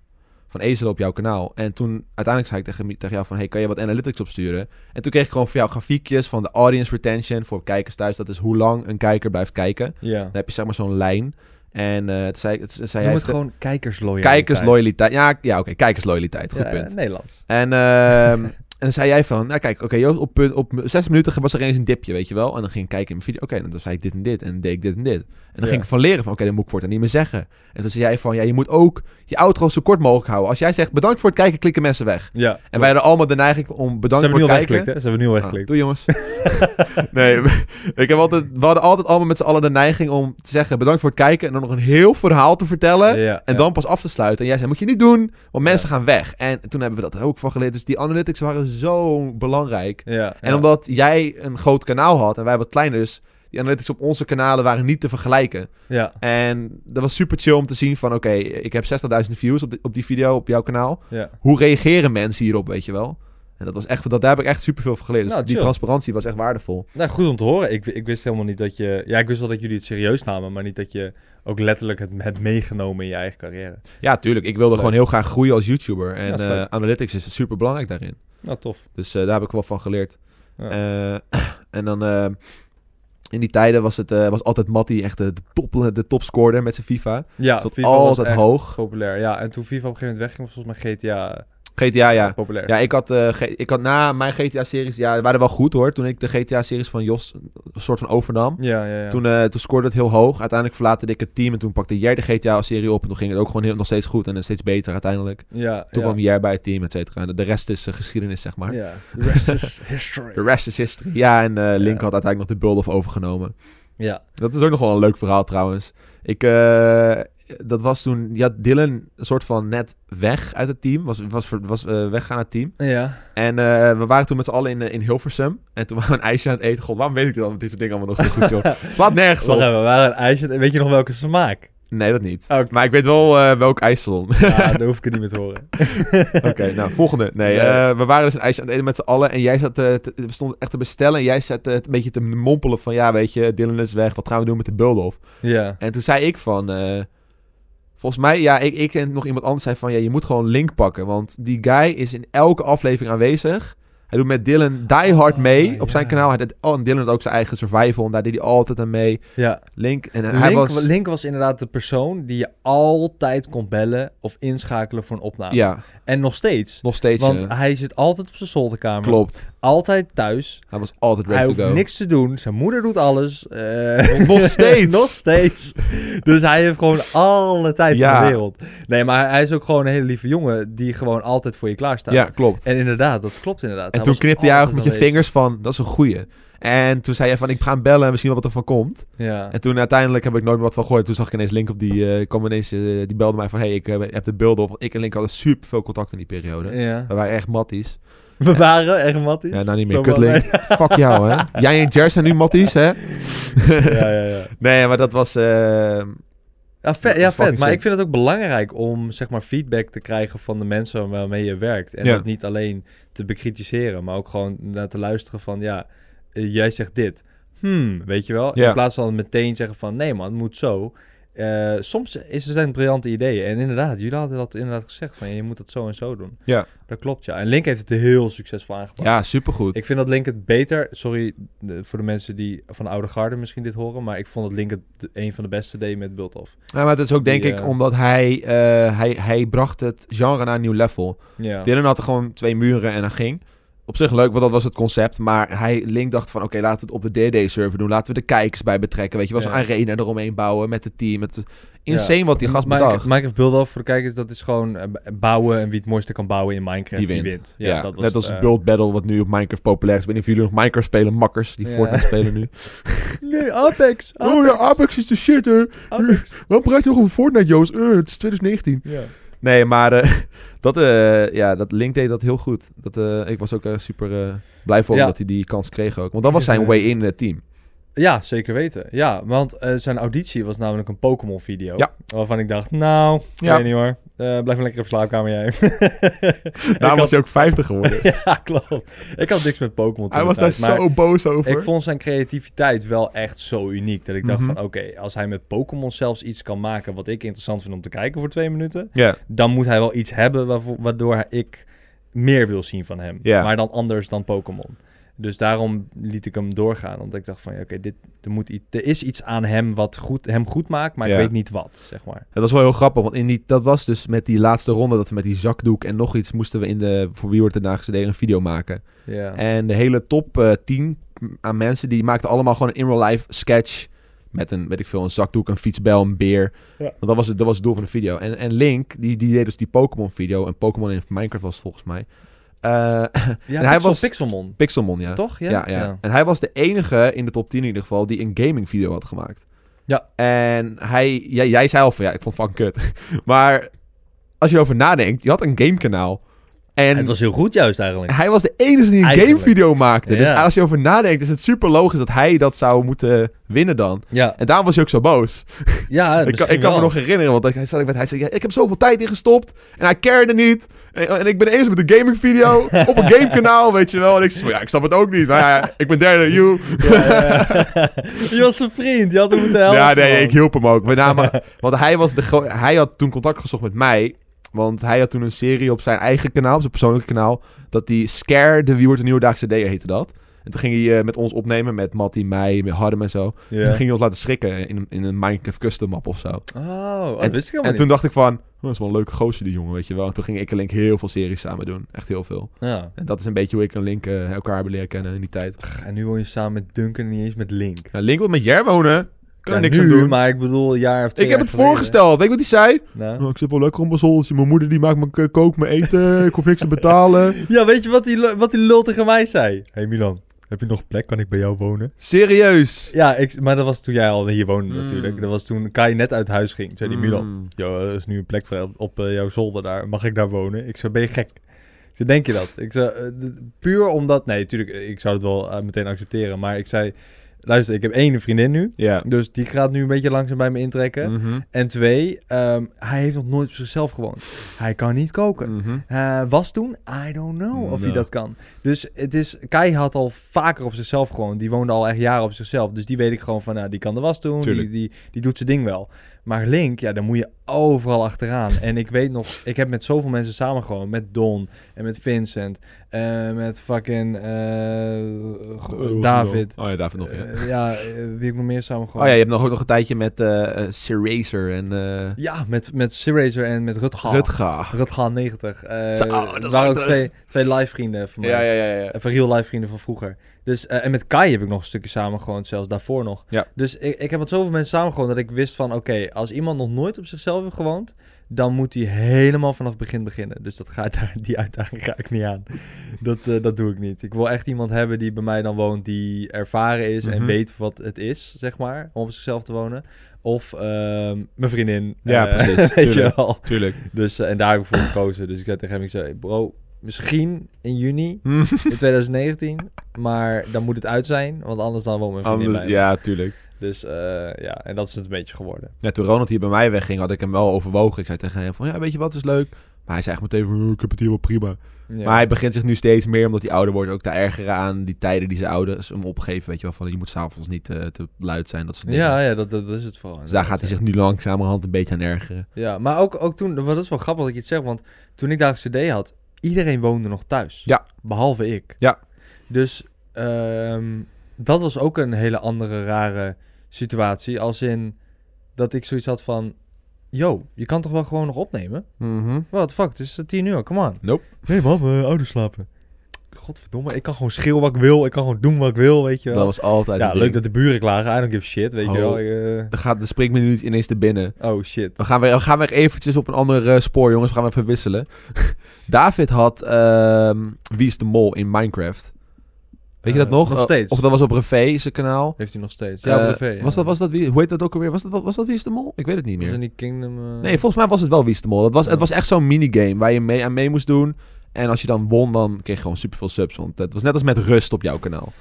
van Ezel op jouw kanaal. En toen uiteindelijk zei ik tegen, mi- tegen jou van, hey, kan je wat analytics opsturen? En toen kreeg ik gewoon van jou grafiekjes van de audience retention voor kijkers thuis. Dat is hoe lang een kijker blijft kijken.
ja.
Dan heb je zeg maar zo'n lijn. En eh toen zei, toen zei
Noem
hij...
het gewoon kijkersloyaliteit.
Kijkersloyaliteit. Ja, ja oké, kijkersloyaliteit. Goed
Ja, eh,
punt.
Nederlands.
En, ehm, en dan zei jij van, nou kijk, oké, Joost, op, punt- op zes minuten was er eens een dipje, weet je wel. En dan ging ik kijken in mijn video, oké, dan zei ik dit en dit en deed ik dit en dit. En dan
Ja.
ging ik van leren van, oké, dan moet ik voor het niet meer zeggen. En toen zei jij van, ja, je moet ook je outro zo kort mogelijk houden. Als jij zegt, bedankt voor het kijken, klikken mensen weg.
Ja.
En wij hadden allemaal de neiging om bedankt
Ze hebben
voor
nu al
het kijken.
weggeklikt, hè? Ze hebben nu al
Ah,
weggeklikt.
doei jongens. nee, ik heb altijd, we hadden altijd allemaal met z'n allen de neiging om te zeggen, bedankt voor het kijken. En dan nog een heel verhaal te vertellen.
ja,
En
ja.
dan pas af te sluiten. En jij zei, moet je niet doen, want mensen
Ja.
gaan weg. En toen hebben we dat ook van geleerd. Dus die analytics waren zo belangrijk.
Ja,
En
ja.
omdat jij een groot kanaal had en wij wat kleiner, dus die analytics op onze kanalen waren niet te vergelijken.
Ja,
En dat was super chill om te zien van, oké, ik heb 60.000 views op, die- op die video op jouw kanaal.
ja.
Hoe reageren mensen hierop, weet je wel? En dat was echt, dat, daar heb ik echt super veel van geleerd. Dus
Nou,
die
chill.
transparantie was echt waardevol.
Nou, goed om te horen. Ik, ik wist helemaal niet dat je... Ja, ik wist wel dat jullie het serieus namen, maar niet dat je ook letterlijk het hebt meegenomen in je eigen carrière.
Ja, tuurlijk. Ik wilde
Is leuk.
gewoon heel graag groeien als YouTuber. En
Ja, is
eh,
leuk.
analytics is super belangrijk daarin.
Nou, tof.
Dus eh, daar heb ik wel van geleerd.
Ja.
Eh, en dan eh, in die tijden was het eh, was altijd Matty echt de, de, top, eh, de topscorer met zijn FIFA.
Ja,
Stond
FIFA was
altijd
echt
hoog.
populair. Ja, en toen FIFA op een gegeven moment wegging, was volgens mij GTA
GTA, ja.
populair.
Ja, ik had, eh, G- ik had na mijn GTA-series, ja, die waren wel goed hoor. Toen ik de GTA-series van Jos een soort van overnam.
ja, ja. ja.
Toen, eh, toen scoorde het heel hoog. Uiteindelijk verlaten ik het team en toen pakte Jer de GTA-serie op. En toen ging het ook gewoon heel, nog steeds goed en eh, steeds beter uiteindelijk.
ja,
Toen
ja.
kwam Jer bij het team, et cetera. En de- de rest is eh, geschiedenis, zeg maar.
Ja, the rest is history.
De rest is history. Ja, en eh, Link
Ja.
had uiteindelijk nog de Bulldog overgenomen.
Ja,
Dat is ook nog wel een leuk verhaal trouwens. Ik, eh, dat was toen, ja, Dylan een soort van net weg uit het team, was, was, ver- was eh, weggaan uit het team.
ja.
En eh, we waren toen met z'n allen in, eh, in Hilversum. En toen waren we een ijsje aan het eten. God, waarom weet ik dat met dit soort dingen allemaal nog zo goed, joh? Slaat nergens
Wacht
op.
even, waar een ijsje... Weet je nog welke smaak?
Nee, dat niet.
Oké.
Maar ik weet wel eh, welk ijssalon.
Ja, daar hoef ik het niet meer te horen.
Oké, nou, volgende. Nee,
Nee.
eh, we waren dus een ijsje aan het eten met z'n allen. En jij zat, eh, te- we stonden echt te bestellen. En jij zat eh, een beetje te mompelen van, ja, weet je, Dylan is weg. Wat gaan we doen met de Bulldog?
Ja.
En toen zei ik van... eh, volgens mij, ja, ik, ik en nog iemand anders zei van... Ja, je moet gewoon Link pakken. Want die guy is in elke aflevering aanwezig. Hij doet met Dylan die hard
Oh,
mee op zijn
ja.
kanaal. Hij deed, oh, en Dylan had ook zijn eigen survival. En daar deed hij altijd aan mee.
ja.
Link, en hij
Link,
was...
was... Link was inderdaad de persoon die je altijd kon bellen of inschakelen voor een opname.
ja,
En nog steeds.
nog steeds.
Want
eh,
hij zit altijd op zijn zolderkamer.
klopt.
Altijd thuis.
Hij was altijd
Hij
ready to
hoeft
go.
niks te doen. Zijn moeder doet alles. Eh,
Nog steeds.
Nog steeds. Dus hij heeft gewoon alle tijd
Ja.
van de wereld. Nee, maar hij is ook gewoon een hele lieve jongen die gewoon altijd voor je klaarstaat.
Ja, klopt.
En inderdaad, dat klopt inderdaad.
En
Hij
toen
was
knipte jij ook
altijd
met je
aanwezig.
vingers van... Dat is een goeie. En toen zei jij van... Ik ga hem bellen en we zien wel wat er van komt.
Ja.
En toen uiteindelijk heb ik nooit meer wat van gehoord. Toen zag ik ineens Link op die... eh kwam ineens, eh, die belde mij van... hey, ik eh, heb de beelden op. Want ik en Link hadden super veel contact in die periode.
ja.
We waren echt matties.
We waren echt matties.
Ja, nou niet
Zo
meer. Kut Link. Fuck jou, hè. Jij en Jer zijn nu matties, hè.
wel- Ja, ja, ja.
nee, maar dat was... eh,
Ja,
Dat
vet,
is
ja,
fucking
vet. Maar
sick.
ik vind het ook belangrijk om zeg maar, feedback te krijgen van de mensen waarmee je werkt. En
Ja.
dat niet alleen te bekritiseren, maar ook gewoon naar te luisteren van... ja, eh, jij zegt dit. Hmm, weet je wel?
Ja.
In plaats van meteen zeggen van... nee man, het moet zo. eh, soms is, er zijn het briljante ideeën. En inderdaad, jullie hadden dat inderdaad gezegd. Van, je moet dat zo en zo doen.
Ja.
Dat klopt, ja. En Link heeft het heel succesvol aangepakt.
Ja, supergoed.
Ik vind dat Link het beter... Sorry eh, voor de mensen die van de oude garde misschien dit horen. Maar ik vond dat Link het de- een van de beste deed met Bultof.
Ja, maar het is ook denk
Die,
ik
eh,
omdat hij, eh, hij, hij bracht het genre naar een nieuw level.
Ja.
Dylan had er gewoon twee muren en dan ging. Op zich leuk, want dat was het concept. Maar hij, Link dacht van, oké, laten we het op de DD-server doen. Laten we de kijkers bij betrekken. Weet je, wel zo'n
Ja.
arena eromheen bouwen met het team. Het is insane wat die gast
Minecraft-
bedacht.
Minecraft Buldoff, voor de kijkers, dat is gewoon eh, b- bouwen en wie het mooiste kan bouwen in Minecraft,
Die
die
wint.
wint.
ja,
dat was,
net als
eh,
Build Battle, wat nu op Minecraft populair is. Ik weet niet of jullie nog Minecraft spelen, makkers. Die
Ja.
Fortnite spelen nu.
Nee, Apex! Apex!
Oh ja, Apex is de shit, hè.
Apex.
Waarom praat je nog over Fortnite, Joost? Eh, het is 2019.
Ja.
Nee, maar eh, dat, eh, ja, dat Link deed dat heel goed. Dat, eh, ik was ook eh, super eh, blij voor hem
Ja.
dat hij die kans kreeg ook. Want dat was zijn
Ja.
way in het team.
Ja, zeker weten. Ja, want eh, zijn auditie was namelijk een Pokémon-video.
Ja.
Waarvan ik dacht, nou,
Ja.
weet niet hoor. Eh, blijf maar lekker op slaapkamer jij.
Daarom
Ik
was
had-
hij ook 50 geworden.
ja, klopt. Ik had niks met Pokémon toen
hij was daar
tijd, maar
zo boos over.
Ik vond zijn creativiteit wel echt zo uniek. Dat ik dacht
Mhm.
van, oké, als hij met Pokémon zelfs iets kan maken... wat ik interessant vind om te kijken voor twee minuten...
Ja,
dan moet hij wel iets hebben waarvoor, waardoor ik meer wil zien van hem.
Ja.
Maar dan anders dan Pokémon. Dus daarom liet ik hem doorgaan. Omdat ik dacht van, ja, oké, dit er, moet iets, er is iets aan hem wat goed, hem goed maakt, maar
Ja.
ik weet niet wat, zeg maar.
dat was wel heel grappig. Want in die, dat was dus met die laatste ronde dat we met die zakdoek en nog iets moesten we in de voor wie wordt het na gedaan een video maken.
Ja.
En de hele top eh 10 aan mensen die maakten allemaal gewoon een in real life sketch. Met een, weet ik veel, een zakdoek, een fietsbel, een beer.
Ja.
Want dat was, het, dat was het doel van de video. En, en Link, die, die deed dus die Pokémon-video. En Pokémon in Minecraft was het volgens mij. Eh,
ja,
en hij
Pixel-
was-
Pixelmon,
Pixelmon, ja.
toch?
Ja, ja. En hij was de enige in de top 10 in ieder geval die een gaming video had gemaakt.
Ja.
En hij, jij, jij zei al van ja, ik vond het fucking kut. maar als je erover nadenkt, je had een gamekanaal.
En
En
het was heel goed juist eigenlijk.
hij was de enige die een
Eigenlijk.
gamevideo maakte. Dus
Ja.
als je over nadenkt, is het super logisch dat hij dat zou moeten winnen dan.
Ja,
En daarom was hij ook zo boos.
ja
ik kan, ik kan me nog herinneren, want hij, zat, hij zei, ja, ik heb zoveel tijd in gestopt. En hij cared niet. En, en ik ben eens met een gaming video op een gamekanaal, weet je wel. En ik zei, van, ja, ik snap het ook niet. Nou ja, ik ben derde, you.
Je was zijn vriend, je had hem moeten helpen.
Ja, nee,
man.
ik hielp hem ook. Met name, want hij, was de gro- hij had toen contact gezocht met mij. Want hij had toen een serie op zijn eigen kanaal, op zijn persoonlijke kanaal. Dat die Scare, de Wie wordt de Nieuwdaagse D'er heette dat. En toen ging hij eh, met ons opnemen, met Matty, mij, met Harm en zo. En
Ja.
toen ging hij ons laten schrikken in, een- in een Minecraft custom map of zo.
Oh, oh, dat wist ik helemaal
en toen dacht ik van, oh, dat is wel een leuke gozer die jongen, weet je wel. En toen ging ik en Link heel veel series samen doen. Echt heel veel.
niet. Ja.
En dat is een beetje hoe ik en Link eh, elkaar hebben leren kennen in die tijd.
En nu woon je samen met Duncan en niet eens met Link.
Nou, Link wil met Jer wonen. Kan er
Ja,
niks
nu,
aan doen.
maar ik bedoel, een jaar of twee
Ik heb
jaar
het
geleden.
voorgesteld. Weet je wat hij zei?
Nou.
Nou, ik zit wel lekker op mijn zoldertje. Mijn moeder die maakt me k- kook, me eten. Ik hoef niks te betalen.
Ja, weet je wat die, lu- wat die lul tegen mij zei? hey Milan, heb je nog plek? Kan ik bij jou wonen?
Serieus.
Ja, ik, maar dat was toen jij al hier woonde
Mm.
natuurlijk. Dat was toen Kai net uit huis ging. Toen zei die Milan,
Mm.
joh, er is nu een plek voor jou op eh, jouw zolder daar. Mag ik daar wonen? Ik zei, ben je gek? Ik zei, denk je dat? Ik zei, eh, d- puur omdat... Nee, natuurlijk, eh, ik zou het wel eh, meteen accepteren. Maar ik zei, luister, ik heb één vriendin nu.
Ja.
Dus die gaat nu een beetje langzaam bij me intrekken.
Mhm.
En twee, ehm, hij heeft nog nooit op zichzelf gewoond. Hij kan niet koken.
Mhm.
Eh, was toen, I don't know of
Ja.
hij dat kan. Dus het is, Kai had al vaker op zichzelf gewoon. Die woonde al echt jaren op zichzelf. Dus die weet ik gewoon van, nou, die kan de was doen. Die,
Tuurlijk.
die, die doet zijn ding wel. Maar Link, ja, daar moet je overal achteraan. En ik weet nog, ik heb met zoveel mensen samen gewoon. Met Don en met Vincent. eh, met fucking eh, David.
Oh ja, David nog. Ja.
Eh, ja, eh, wie heb ik nog meer samen
Oh
gewoon.
ja, je hebt nog ook nog een tijdje met eh eh, Sir Racer en eh
Ja, met, met Siracer en met Rutger.
Rutga.
Rutgaan 90. Eh
Zo, oh, dat is
dat
lang
waren ook
terug.
twee, twee live vrienden van mij.
ja, ja.
Eh, Van real life vrienden van vroeger. Dus, eh, en met Kai heb ik nog een stukje samen gewoon, zelfs daarvoor nog.
Ja.
Dus ik, ik heb met zoveel mensen samen gewoond dat ik wist van, oké, als iemand nog nooit op zichzelf heeft gewoond, dan moet hij helemaal vanaf het begin beginnen. Dus dat ga, daar, die uitdaging ga ik niet aan. Dat, eh, dat doe ik niet. Ik wil echt iemand hebben die bij mij dan woont, die ervaren is
Mhm.
en weet wat het is, zeg maar, om op zichzelf te wonen. Of ehm, mijn vriendin.
Ja,
Eh,
precies,
Weet je
tuurlijk.
wel.
Tuurlijk.
Dus, eh, en daar heb ik voor gekozen. Dus ik zei tegen hem, ik zei, bro, misschien in juni
Mhm.
in 2019. Maar dan moet het uit zijn, want anders dan woont mijn vriendin
Anders,
bij me.
ja, tuurlijk.
Dus eh, ja, en dat is het een beetje geworden.
Ja, toen Ronald hier bij mij wegging, had ik hem wel overwogen. Ik zei tegen hem van, ja, weet je wat is leuk? Maar hij zei echt meteen van, "Eh, ik heb het hier wel prima.
Ja.
Maar hij begint zich nu steeds meer, omdat hij ouder wordt, ook te ergeren aan die tijden die zijn ouders hem opgeven. Weet je wel, van je moet s'avonds niet eh, te luid zijn, dat soort dingen.
ja, ja dat, dat, dat is het vooral.
Dus daar gaat hij zich nu langzamerhand een beetje aan ergeren.
Ja, maar ook, ook toen, want dat is wel grappig dat je het zegt, want toen ik daar CD had, iedereen woonde nog thuis.
Ja.
Behalve ik.
Ja.
Dus ehm, dat was ook een hele andere rare situatie, als in dat ik zoiets had van, yo, je kan toch wel gewoon nog opnemen? What the fuck, het is tien uur, come on.
Nope.
Nee man, mijn ouders slapen. Godverdomme, ik kan gewoon schreeuwen wat ik wil, ik kan gewoon doen wat ik wil, weet je wel.
Dat was altijd
ja,
het
leuk
ding.
dat de buren klagen, I don't give a shit, weet
Oh.
je wel. Ik,
Dan gaat de springmenu niet ineens te binnen.
eh, oh shit.
We gaan weer, we gaan weer eventjes op een ander eh, spoor, jongens. We gaan even wisselen. David had ehm, Wie is de Mol in Minecraft. Weet je
Eh,
dat nog?
nog
Eh,
steeds.
Of dat was op Revé, zijn kanaal.
Heeft hij nog steeds.
Eh,
Ja, op tv, ja.
Was dat, was dat, wie, hoe heet dat ook alweer? Was dat, was dat Wie is de Mol? Ik weet het niet
Was
meer.
dat niet Kingdom... eh,
Nee, volgens mij was het wel Wie is de Mol. Dat was,
Ja.
Het was echt zo'n minigame waar je mee, aan mee moest doen. En als je dan won, dan kreeg je gewoon superveel subs. Want het was net als met rust op jouw kanaal.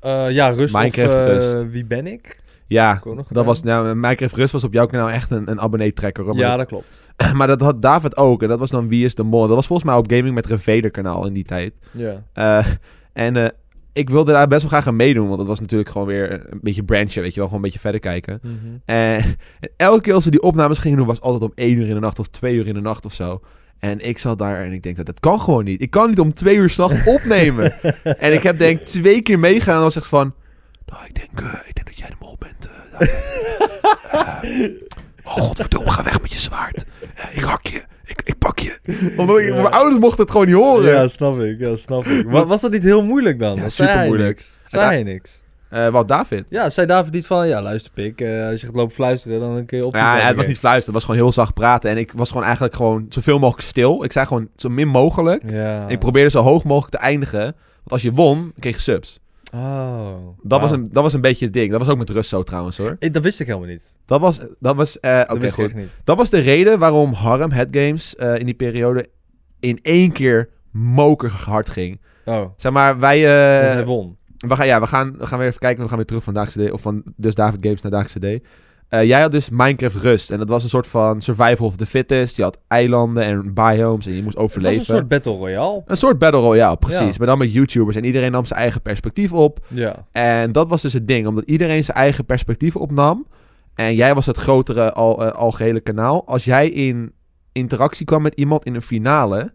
Eh, ja, Rust
Minecraft
of eh,
Rust.
Wie ben ik?
Ja,
Heb ik ook nog
dat
gedaan.
was, nou, Minecraft Rust was op jouw kanaal echt een, een abonnee-trekker. hoor. Maar
Ja, dat klopt.
dat- maar dat had David ook. En dat was dan Wie is de Mol. Dat was volgens mij op Gaming met Reveder kanaal in die tijd.
Ja.
Eh, en eh, ik wilde daar best wel graag aan meedoen. Want dat was natuurlijk gewoon weer een beetje branchen, weet je wel. Gewoon een beetje verder kijken. En, en Eh, elke keer als we die opnames gingen doen, was altijd om één uur in de nacht of twee uur in de nacht of zo. En ik zat daar en ik denk dat dat kan gewoon niet. Ik kan niet om twee uur s'nachts opnemen. en ik heb denk ik twee keer meegaan en was echt van... Nou, ik denk, eh, ik denk dat jij de mol bent. eh, David. Eh, oh, godverdomme, ga weg met je zwaard. Eh, ik hak je. Ik, ik pak je. Omdat ik-
Ja.
Mijn ouders mochten het gewoon niet horen.
Oh, Ja, snap ik. Ja, snap ik. Maar was dat niet heel moeilijk dan?
Ja,
Of zei hij
supermoeilijk.
niks? Zei hij niks?
Eh, wat, David?
Ja, zei David niet van... Ja, luister pik. eh, als je gaat lopen fluisteren, dan kun je op...
Ja, het was niet fluisteren. Het was gewoon heel zacht praten. En ik was gewoon eigenlijk gewoon zoveel mogelijk stil. Ik zei gewoon zo min mogelijk.
Ja.
En ik probeerde zo hoog mogelijk te eindigen. Want als je won, kreeg je subs.
Oh.
Dat, was een, dat was een beetje het ding. Dat was ook met rust zo trouwens hoor.
Ik, dat wist ik helemaal niet.
Dat was, dat was, eh,
Dat
oké,
wist ik
goed.
echt niet.
Dat was de reden waarom Harm Head Games eh, in die periode in één keer mokerig hard ging.
Oh.
Zeg maar, wij,
dat
eh,
hij won.
we, gaan, ja, we, gaan, we gaan weer even kijken. We gaan weer terug van Daagse D. Of van dus David Games naar Daagse D. Eh, jij had dus Minecraft Rust. En dat was een soort van survival of the fittest. Je had eilanden en biomes en je moest
Het was
overleven.
een soort battle royale.
Een soort battle royale, precies.
Ja.
Maar dan met YouTubers en iedereen nam zijn eigen perspectief op.
Ja.
En dat was dus het ding, omdat iedereen zijn eigen perspectief opnam. En jij was het grotere al, eh, algehele kanaal. Als jij in interactie kwam met iemand in een finale,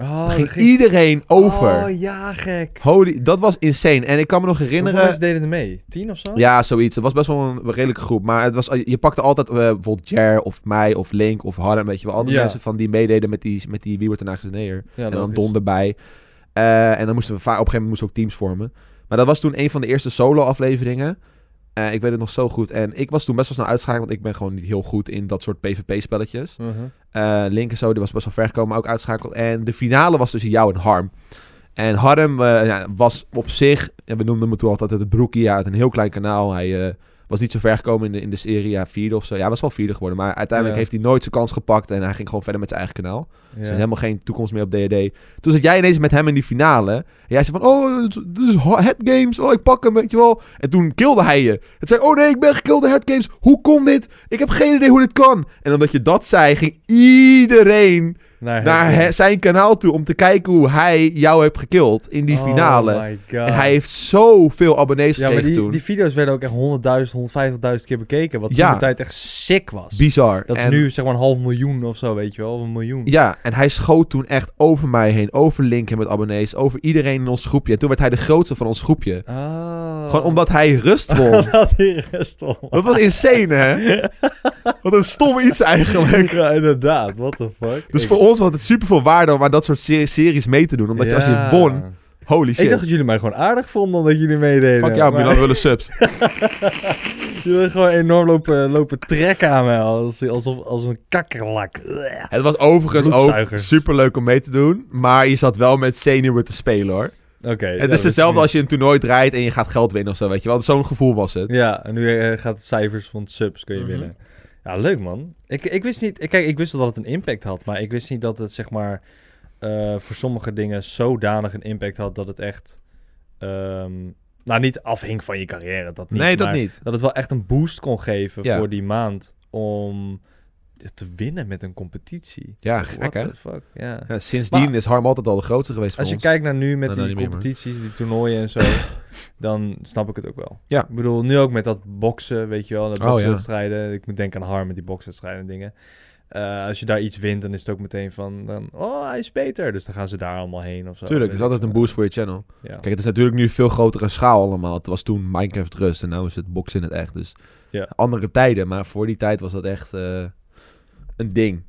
Oh,
dan
dat
ging iedereen over.
Oh, ja, gek.
Holy, dat was insane. En ik kan me nog
Hoeveel
herinneren.
mensen deden er mee? Tien of zo?
Ja, zoiets. Het was best wel een redelijke groep. Maar het was, je pakte altijd eh, bijvoorbeeld Jer of mij of Link of Harm. Weet je wel. Altijd
Ja.
mensen van die meededen met die, met die Wie wordt er naast neer.
Ja,
en dan
logisch.
Don erbij. Eh, en dan moesten we va- op een gegeven moment moesten we ook teams vormen. Maar dat was toen een van de eerste solo-afleveringen. Eh, ik weet het nog zo goed. En ik was toen best wel snel uitschakeld. Want ik ben gewoon niet heel goed in dat soort PvP-spelletjes.
Mhm.
Eh Link en zo, die was best wel ver gekomen. maar ook uitschakeld. En de finale was tussen jou en Harm. En Harm eh, ja, was op zich... en we noemden hem toen altijd het broekie. Ja, uit een heel klein kanaal. Hij eh, was niet zo ver gekomen in de, in de serie. Ja, vierde of zo. Ja, hij was wel vierde geworden. Maar uiteindelijk
Ja.
heeft hij nooit zijn kans gepakt. En hij ging gewoon verder met zijn eigen kanaal.
Ja.
Dus hij had helemaal geen toekomst meer op D&D. Toen zat jij ineens met hem in die finale. En jij zei van, oh, dit is Head Games. Oh, ik pak hem, weet je wel. En toen kilde hij je. Het zei, oh nee, ik ben gekild door Head Games. Hoe kon dit? Ik heb geen idee hoe dit kan. En omdat je dat zei, ging iedereen
Naar,
naar
hem.
he- zijn kanaal toe... om te kijken hoe hij jou heeft gekild in die
Oh
finale.
my God.
en hij heeft zoveel abonnees
ja, maar
gekregen
die,
toen.
die video's werden ook echt 100.000, 150.000 keer bekeken. Wat
Ja.
toen de tijd echt sick was.
Bizar.
dat is
En-
nu zeg maar een half miljoen of zo, weet je wel. Of een miljoen.
Ja, en hij schoot toen echt over mij heen. Over Linken met abonnees. Over iedereen in ons groepje. En toen werd hij de grootste van ons groepje.
Ah.
Gewoon omdat hij rust won.
Dat die rest wel.
Dat was insane, hè? Wat een stom iets eigenlijk.
Ja, inderdaad. What the fuck.
Dus
Ik-
voor ons was het super veel waarde om aan dat soort serie- series mee te doen. Omdat je als je
Ja.
won, holy
Ik
shit.
dacht dat jullie mij gewoon aardig vonden dat jullie meededen.
Fuck jou,
maar
Milan willen subs.
Jullie hebben gewoon enorm lopen, lopen trekken aan mij. Als, alsof, als een kakkerlak.
Het was overigens ook
Bloedzuigers.
super leuk om mee te doen. Maar je zat wel met senior te spelen hoor.
Oké. dus
het is hetzelfde als je een toernooi draait en je gaat geld winnen of zo, weet je wel. Zo'n gevoel was het.
Ja, en nu eh, gaat het cijfers van subs kun je
Mhm.
winnen. Ja, leuk man. Ik, ik wist niet, ik- kijk, ik wist wel dat het een impact had, maar ik wist niet dat het zeg maar eh, voor sommige dingen zodanig een impact had dat het echt, ehm, nou niet afhing van je carrière, dat niet.
nee, dat
maar
niet.
Dat het wel echt een boost kon geven
Ja.
voor die maand om te winnen met een competitie.
Ja,
What
gek hè?
the fuck, ja.
Ja, sindsdien
Maar-
is Harm altijd al de grootste geweest
Als
van
je
ons.
kijkt naar nu met
Nou, nou,
die
niet meer, maar-
competities, die toernooien en zo, dan snap ik het ook wel.
Ja.
Ik bedoel, nu ook met dat boksen, weet je wel, dat
Oh, ja.
bokswedstrijden. Ik moet denken aan Harm met die bokswedstrijden en dingen. Eh, als je daar iets wint, dan is het ook meteen van, dan, oh, hij is beter. Dus dan gaan ze daar allemaal heen of zo.
Tuurlijk, het
Weet
is altijd
ik
een
veel.
boost voor je channel.
Ja.
Kijk, het is natuurlijk nu veel grotere schaal allemaal. Het was toen Minecraft Rust en nu is het boksen in het echt. Dus
Ja.
andere tijden, maar voor die tijd was dat echt eh, een ding.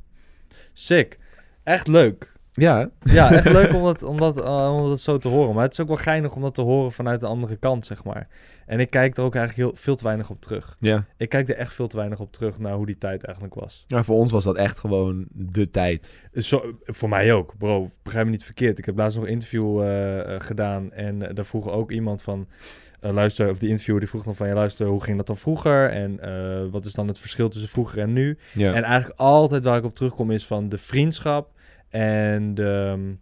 Sick. Echt leuk.
Ja, hè?
Ja, echt leuk om dat, om, dat, eh, om dat zo te horen. Maar het is ook wel geinig om dat te horen vanuit de andere kant, zeg maar. En ik kijk er ook eigenlijk heel, veel te weinig op terug.
ja.
Ik kijk er echt veel te weinig op terug naar hoe die tijd eigenlijk was.
Ja, voor ons was dat echt gewoon de tijd.
Zo, voor mij ook, bro. Begrijp me niet verkeerd. Ik heb laatst nog een interview eh, eh, gedaan en eh, daar vroeg ook iemand van... eh, luister, of die interviewer die vroeg dan van... Ja, luister, hoe ging dat dan vroeger? En eh, wat is dan het verschil tussen vroeger en nu?
Ja.
En eigenlijk altijd waar ik op terugkom is van de vriendschap en de, ehm,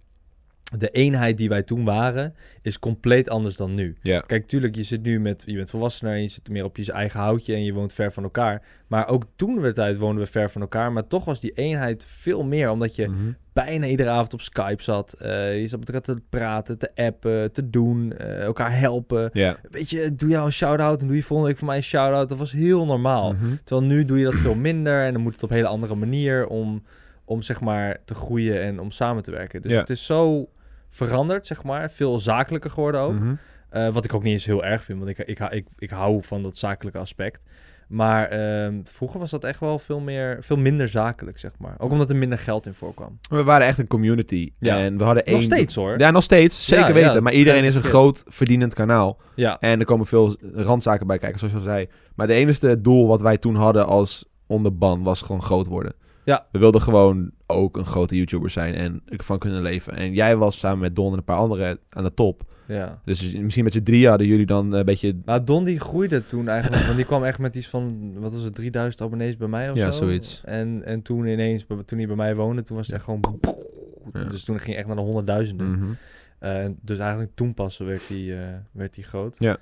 de eenheid die wij toen waren, is compleet anders dan nu.
Ja.
Kijk, tuurlijk, je zit nu met, je bent volwassener en je zit meer op je eigen houtje en je woont ver van elkaar. Maar ook toen we tijd woonden we ver van elkaar, maar toch was die eenheid veel meer, omdat je
Mhm.
bijna iedere avond op Skype zat. Eh, je zat met elkaar te praten, te appen, te doen, eh, elkaar helpen.
Ja.
Weet je, doe jou een shout-out en doe je volgende week voor mij een shout-out. Dat was heel normaal.
Mhm.
Terwijl nu doe je dat veel minder en dan moet het op een hele andere manier om, om zeg maar te groeien en om samen te werken. Dus
Ja.
het is zo veranderd, zeg maar. Veel zakelijker geworden ook.
Mhm.
Eh, wat ik ook niet eens heel erg vind, want ik, ik, hou- ik, ik hou van dat zakelijke aspect. Maar ehm, vroeger was dat echt wel veel, meer, veel minder zakelijk, zeg maar. Ook omdat er minder geld in voorkwam.
We waren echt een community.
Ja.
En we hadden één...
Nog steeds hoor.
Ja, nog steeds. Zeker
Ja, ja,
weten. maar iedereen is een
ja.
groot verdienend kanaal.
Ja.
En er komen veel randzaken bij kijken, zoals je al zei. Maar de enige doel wat wij toen hadden als onderban was gewoon groot worden.
Ja.
We wilden gewoon ook een grote YouTuber zijn en ervan kunnen leven. En jij was samen met Don en een paar anderen aan de top.
ja.
Dus misschien met z'n drieën hadden jullie dan een beetje...
Nou, Don die groeide toen eigenlijk, want die kwam echt met iets van, wat was het, 3000 abonnees bij mij of
Ja,
zo?
zoiets.
En, en toen ineens, bij- toen hij bij mij woonde, toen was het echt gewoon...
Ja.
Dus toen ging hij echt naar de honderdduizenden.
Mhm.
Eh, en dus eigenlijk toen pas werd hij, eh, werd hij groot.
Ja.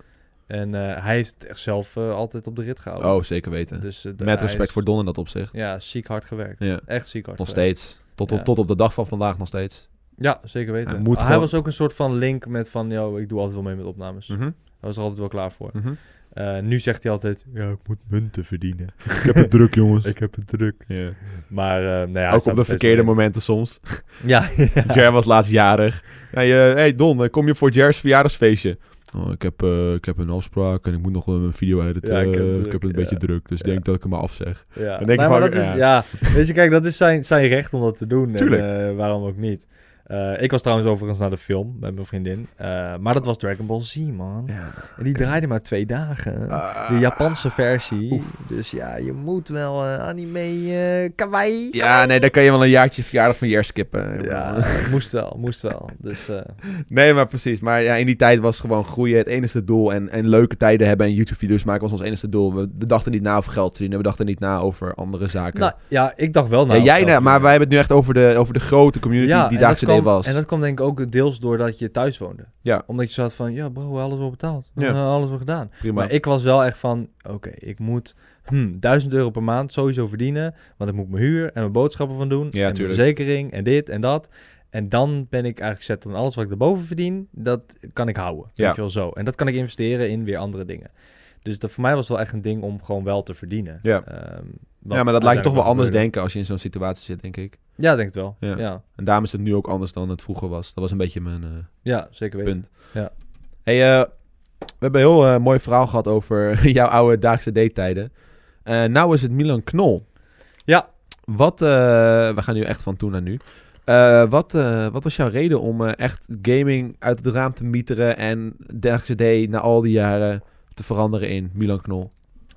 En eh, hij heeft het echt zelf eh, altijd op de rit gehouden.
Oh, zeker weten.
dus, eh, de-
met
hij
respect
is-
voor Don in dat opzicht.
Ja, ziek hard gewerkt.
Ja.
Echt ziek hard
Nog
gewerkt.
steeds. Tot
Ja.
op, tot op de dag van vandaag nog steeds.
Ja, zeker weten.
Hij
Hij,
moet gewoon-
was ook een soort van link met van, yo, ik doe altijd wel mee met opnames.
Mhm.
Hij was er altijd wel klaar voor.
Mhm.
Eh, nu zegt hij altijd, ja, ik moet munten verdienen.
Ik heb het druk, jongens.
Ik heb het druk.
Ja.
Dus Maar, eh, nou ja, hij
Ook
staat
op de
nog steeds
verkeerde
wel
momenten soms.
in. Ja,
Jer was laatst jarig. Hey, eh, hey Don, eh, kom je voor Jer's verjaardagsfeestje? Oh, ik, heb, eh, ik heb een afspraak en ik moet nog een video editen.
Ja,
Eh, ik
ik heb
heb,
druk,
een
ja.
beetje druk, dus ik denk dat ik hem maar afzeg.
Ja,
Dan denk
Nee,
je
maar
van,
dat is,
ja.
ja. Weet je, kijk, dat is zijn, zijn recht om dat te doen.
Tuurlijk.
En, eh, waarom ook niet. Eh, ik was trouwens overigens naar de film met mijn vriendin. Eh, maar dat was Dragon Ball Z, man. En die draaide maar twee dagen.
Ah,
de Japanse versie. Dus ja, je moet wel eh, anime eh, kawaii.
Ja, nee, dan kan je wel een jaartje verjaardag van Jer skippen.
Ja, moest wel, moest wel. Dus eh,
Nee, maar precies. Maar ja, in die tijd was gewoon groeien het enige doel. En, en leuke tijden hebben en YouTube-video's maken was ons enige doel. We we dachten niet na over geld verdienen. We dachten niet na over andere zaken.
nou, ja, ik dacht wel
Ja,
nou.
jij,
dat-
nou, maar wij hebben het nu echt over de, over de grote community die
en
daar zin
dat
in
kwam-
was.
En dat kwam denk ik ook deels doordat je thuis woonde.
Ja.
Omdat je zat van, ja bro, we hebben alles wel betaald. We
Ja.
hebben alles wel gedaan.
Prima.
Maar ik was wel echt van, oké, ik moet hmm, 1000 euro per maand sowieso verdienen. Want ik moet mijn huur en mijn boodschappen van doen.
Ja,
en mijn
tuurlijk.
verzekering en dit en dat. En dan ben ik eigenlijk zet dan alles wat ik daarboven verdien, dat kan ik houden.
Ja.
Weet je wel zo. En dat kan ik investeren in weer andere dingen. Dus dat voor mij was wel echt een ding om gewoon wel te verdienen.
Ja.
Ehm, wat
ja, maar dat laat je toch wel
uiteindelijk
anders
gebeurde.
denken als je in zo'n situatie zit, denk ik.
Ja, denk het wel.
Ja.
Ja, ja.
En daarom is het nu ook anders dan het vroeger was. Dat was een beetje mijn eh,
zeker weten.
punt.
Ja.
Hey, eh, we hebben een heel eh, mooi verhaal gehad over jouw oude dagse datetijden. Eh nou is het Milan Knol.
Ja.
Wat, eh, we gaan nu echt van toen naar nu. Eh, wat, eh, wat was jouw reden om eh, echt gaming uit het raam te mieteren en dagse date na al die jaren te veranderen in Milan Knol?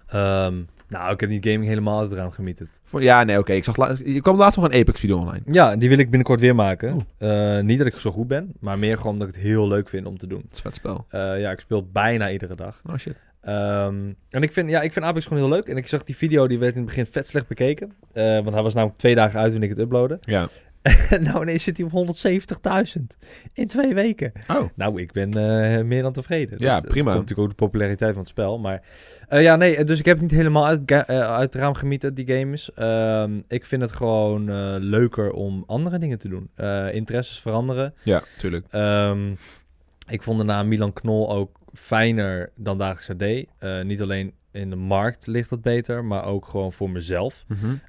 Ehm, nou, ik heb niet gaming helemaal uit het raam gemieterd.
Voor- ja, nee, oké. Ik zag la- je kwam laatst nog een Apex video online.
Ja, die wil ik binnenkort weer maken.
Oeh.
Eh, niet dat ik zo goed ben, maar meer gewoon omdat ik het heel leuk vind om te doen.
Dat is een vet spel.
Eh, ja, ik speel bijna iedere dag.
Oh shit.
Ehm, en ik vind, ja, ik vind Apex gewoon heel leuk. En ik zag die video, die werd in het begin vet slecht bekeken. Eh, want hij was namelijk twee dagen uit toen ik het uploadde.
Ja.
nou nee, zit hij op 170.000 in twee weken.
Oh.
Nou, ik ben eh, meer dan tevreden.
Ja, prima.
komt natuurlijk ook de populariteit van het spel. Maar eh, ja, nee, dus ik heb het niet helemaal uit, ga- eh, uit het raam gemieten, die games. Ehm, ik vind het gewoon eh, leuker om andere dingen te doen. Eh, interesses veranderen.
Ja, tuurlijk.
Ehm, ik vond de naam Milan Knol ook fijner dan Dagelijks AD. Eh, niet alleen in de markt ligt dat beter, maar ook gewoon voor mezelf.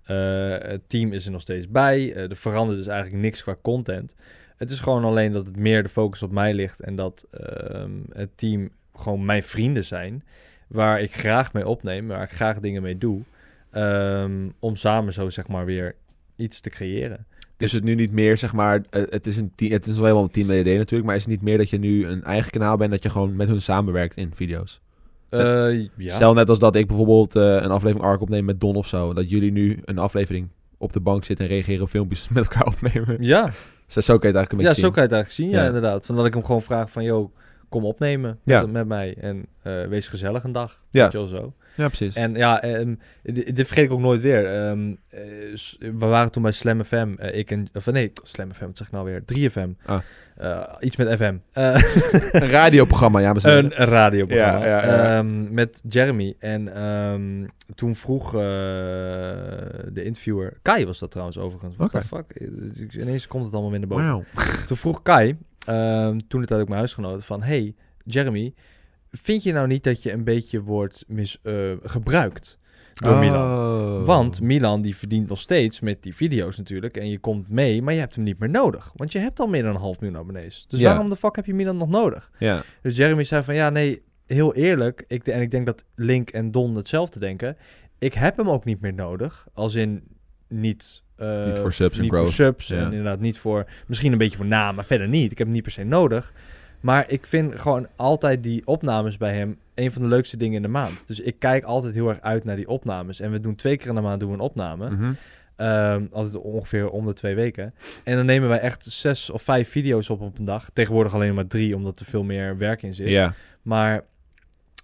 Eh, het team is er nog steeds bij. Eh, er verandert dus eigenlijk niks qua content. Het is gewoon alleen dat het meer de focus op mij ligt en dat ehm, het team gewoon mijn vrienden zijn. Waar ik graag mee opneem, waar ik graag dingen mee doe. ehm, om samen zo zeg maar weer iets te creëren.
Is het nu niet meer, zeg maar, eh, het is, een team, het is wel helemaal een team DD natuurlijk, maar is het niet meer dat je nu een eigen kanaal bent dat je gewoon met hun samenwerkt in video's?
Eh, ja.
Stel net als dat ik bijvoorbeeld eh, een aflevering ARC opneem met Don of zo, dat jullie nu een aflevering op de bank zitten en reageren op filmpjes met elkaar opnemen.
ja,
Zo zo kan je het eigenlijk een beetje
ja
zien.
zo kan je het eigenlijk zien. Ja,
Ja.
inderdaad. Van dat ik hem gewoon vraag van, joh, kom opnemen met-
Ja.
met, mij. En eh, wees gezellig een dag.
Ja.
Weet je wel zo.
Ja, precies.
En ja, ehm, dit dit vergeet ik ook nooit weer. Ehm, eh, s- we waren toen bij Slam FM. eh, ik en, of nee, Slam FM, wat zeg ik nou weer? 3FM.
Ah.
Eh, iets met FM. Eh,
een radioprogramma, ja, maar zo.
een radioprogramma.
Ja, ja, ja.
Ehm, met Jeremy. En ehm, toen vroeg eh, de interviewer... Kai was dat trouwens overigens. What
Oké. Oh
the fuck? Eh, ik- Ineens komt het allemaal weer naar boven.
Wauw.
Toen vroeg Kai, ehm, toen het uit ook mijn huisgenoot, van... Hey, Jeremy, vind je nou niet dat je een beetje wordt mis, eh, gebruikt door Milan?
Oh.
Want Milan die verdient nog steeds met die video's natuurlijk. En je komt mee, maar je hebt hem niet meer nodig. Want je hebt al meer dan een half miljoen abonnees. Dus
Ja.
waarom de fuck heb je Milan nog nodig?
Ja,
Dus Jeremy zei van ja, nee, heel eerlijk. Ik, de- en ik denk dat Link en Don hetzelfde denken. Ik heb hem ook niet meer nodig. Als in niet. eh,
Niet voor subs en
niet
growth.
voor subs
Ja.
en inderdaad niet voor. Misschien een beetje voor naam, maar verder niet. Ik heb hem niet per se nodig. Maar ik vind gewoon altijd die opnames bij hem een van de leukste dingen in de maand. Dus ik kijk altijd heel erg uit naar die opnames. En we doen twee keer in de maand doen we een opname.
Mhm.
Ehm, altijd ongeveer om de twee weken. En dan nemen wij echt zes of vijf video's op op een dag. Tegenwoordig alleen maar drie, omdat er veel meer werk in zit.
ja,
Maar,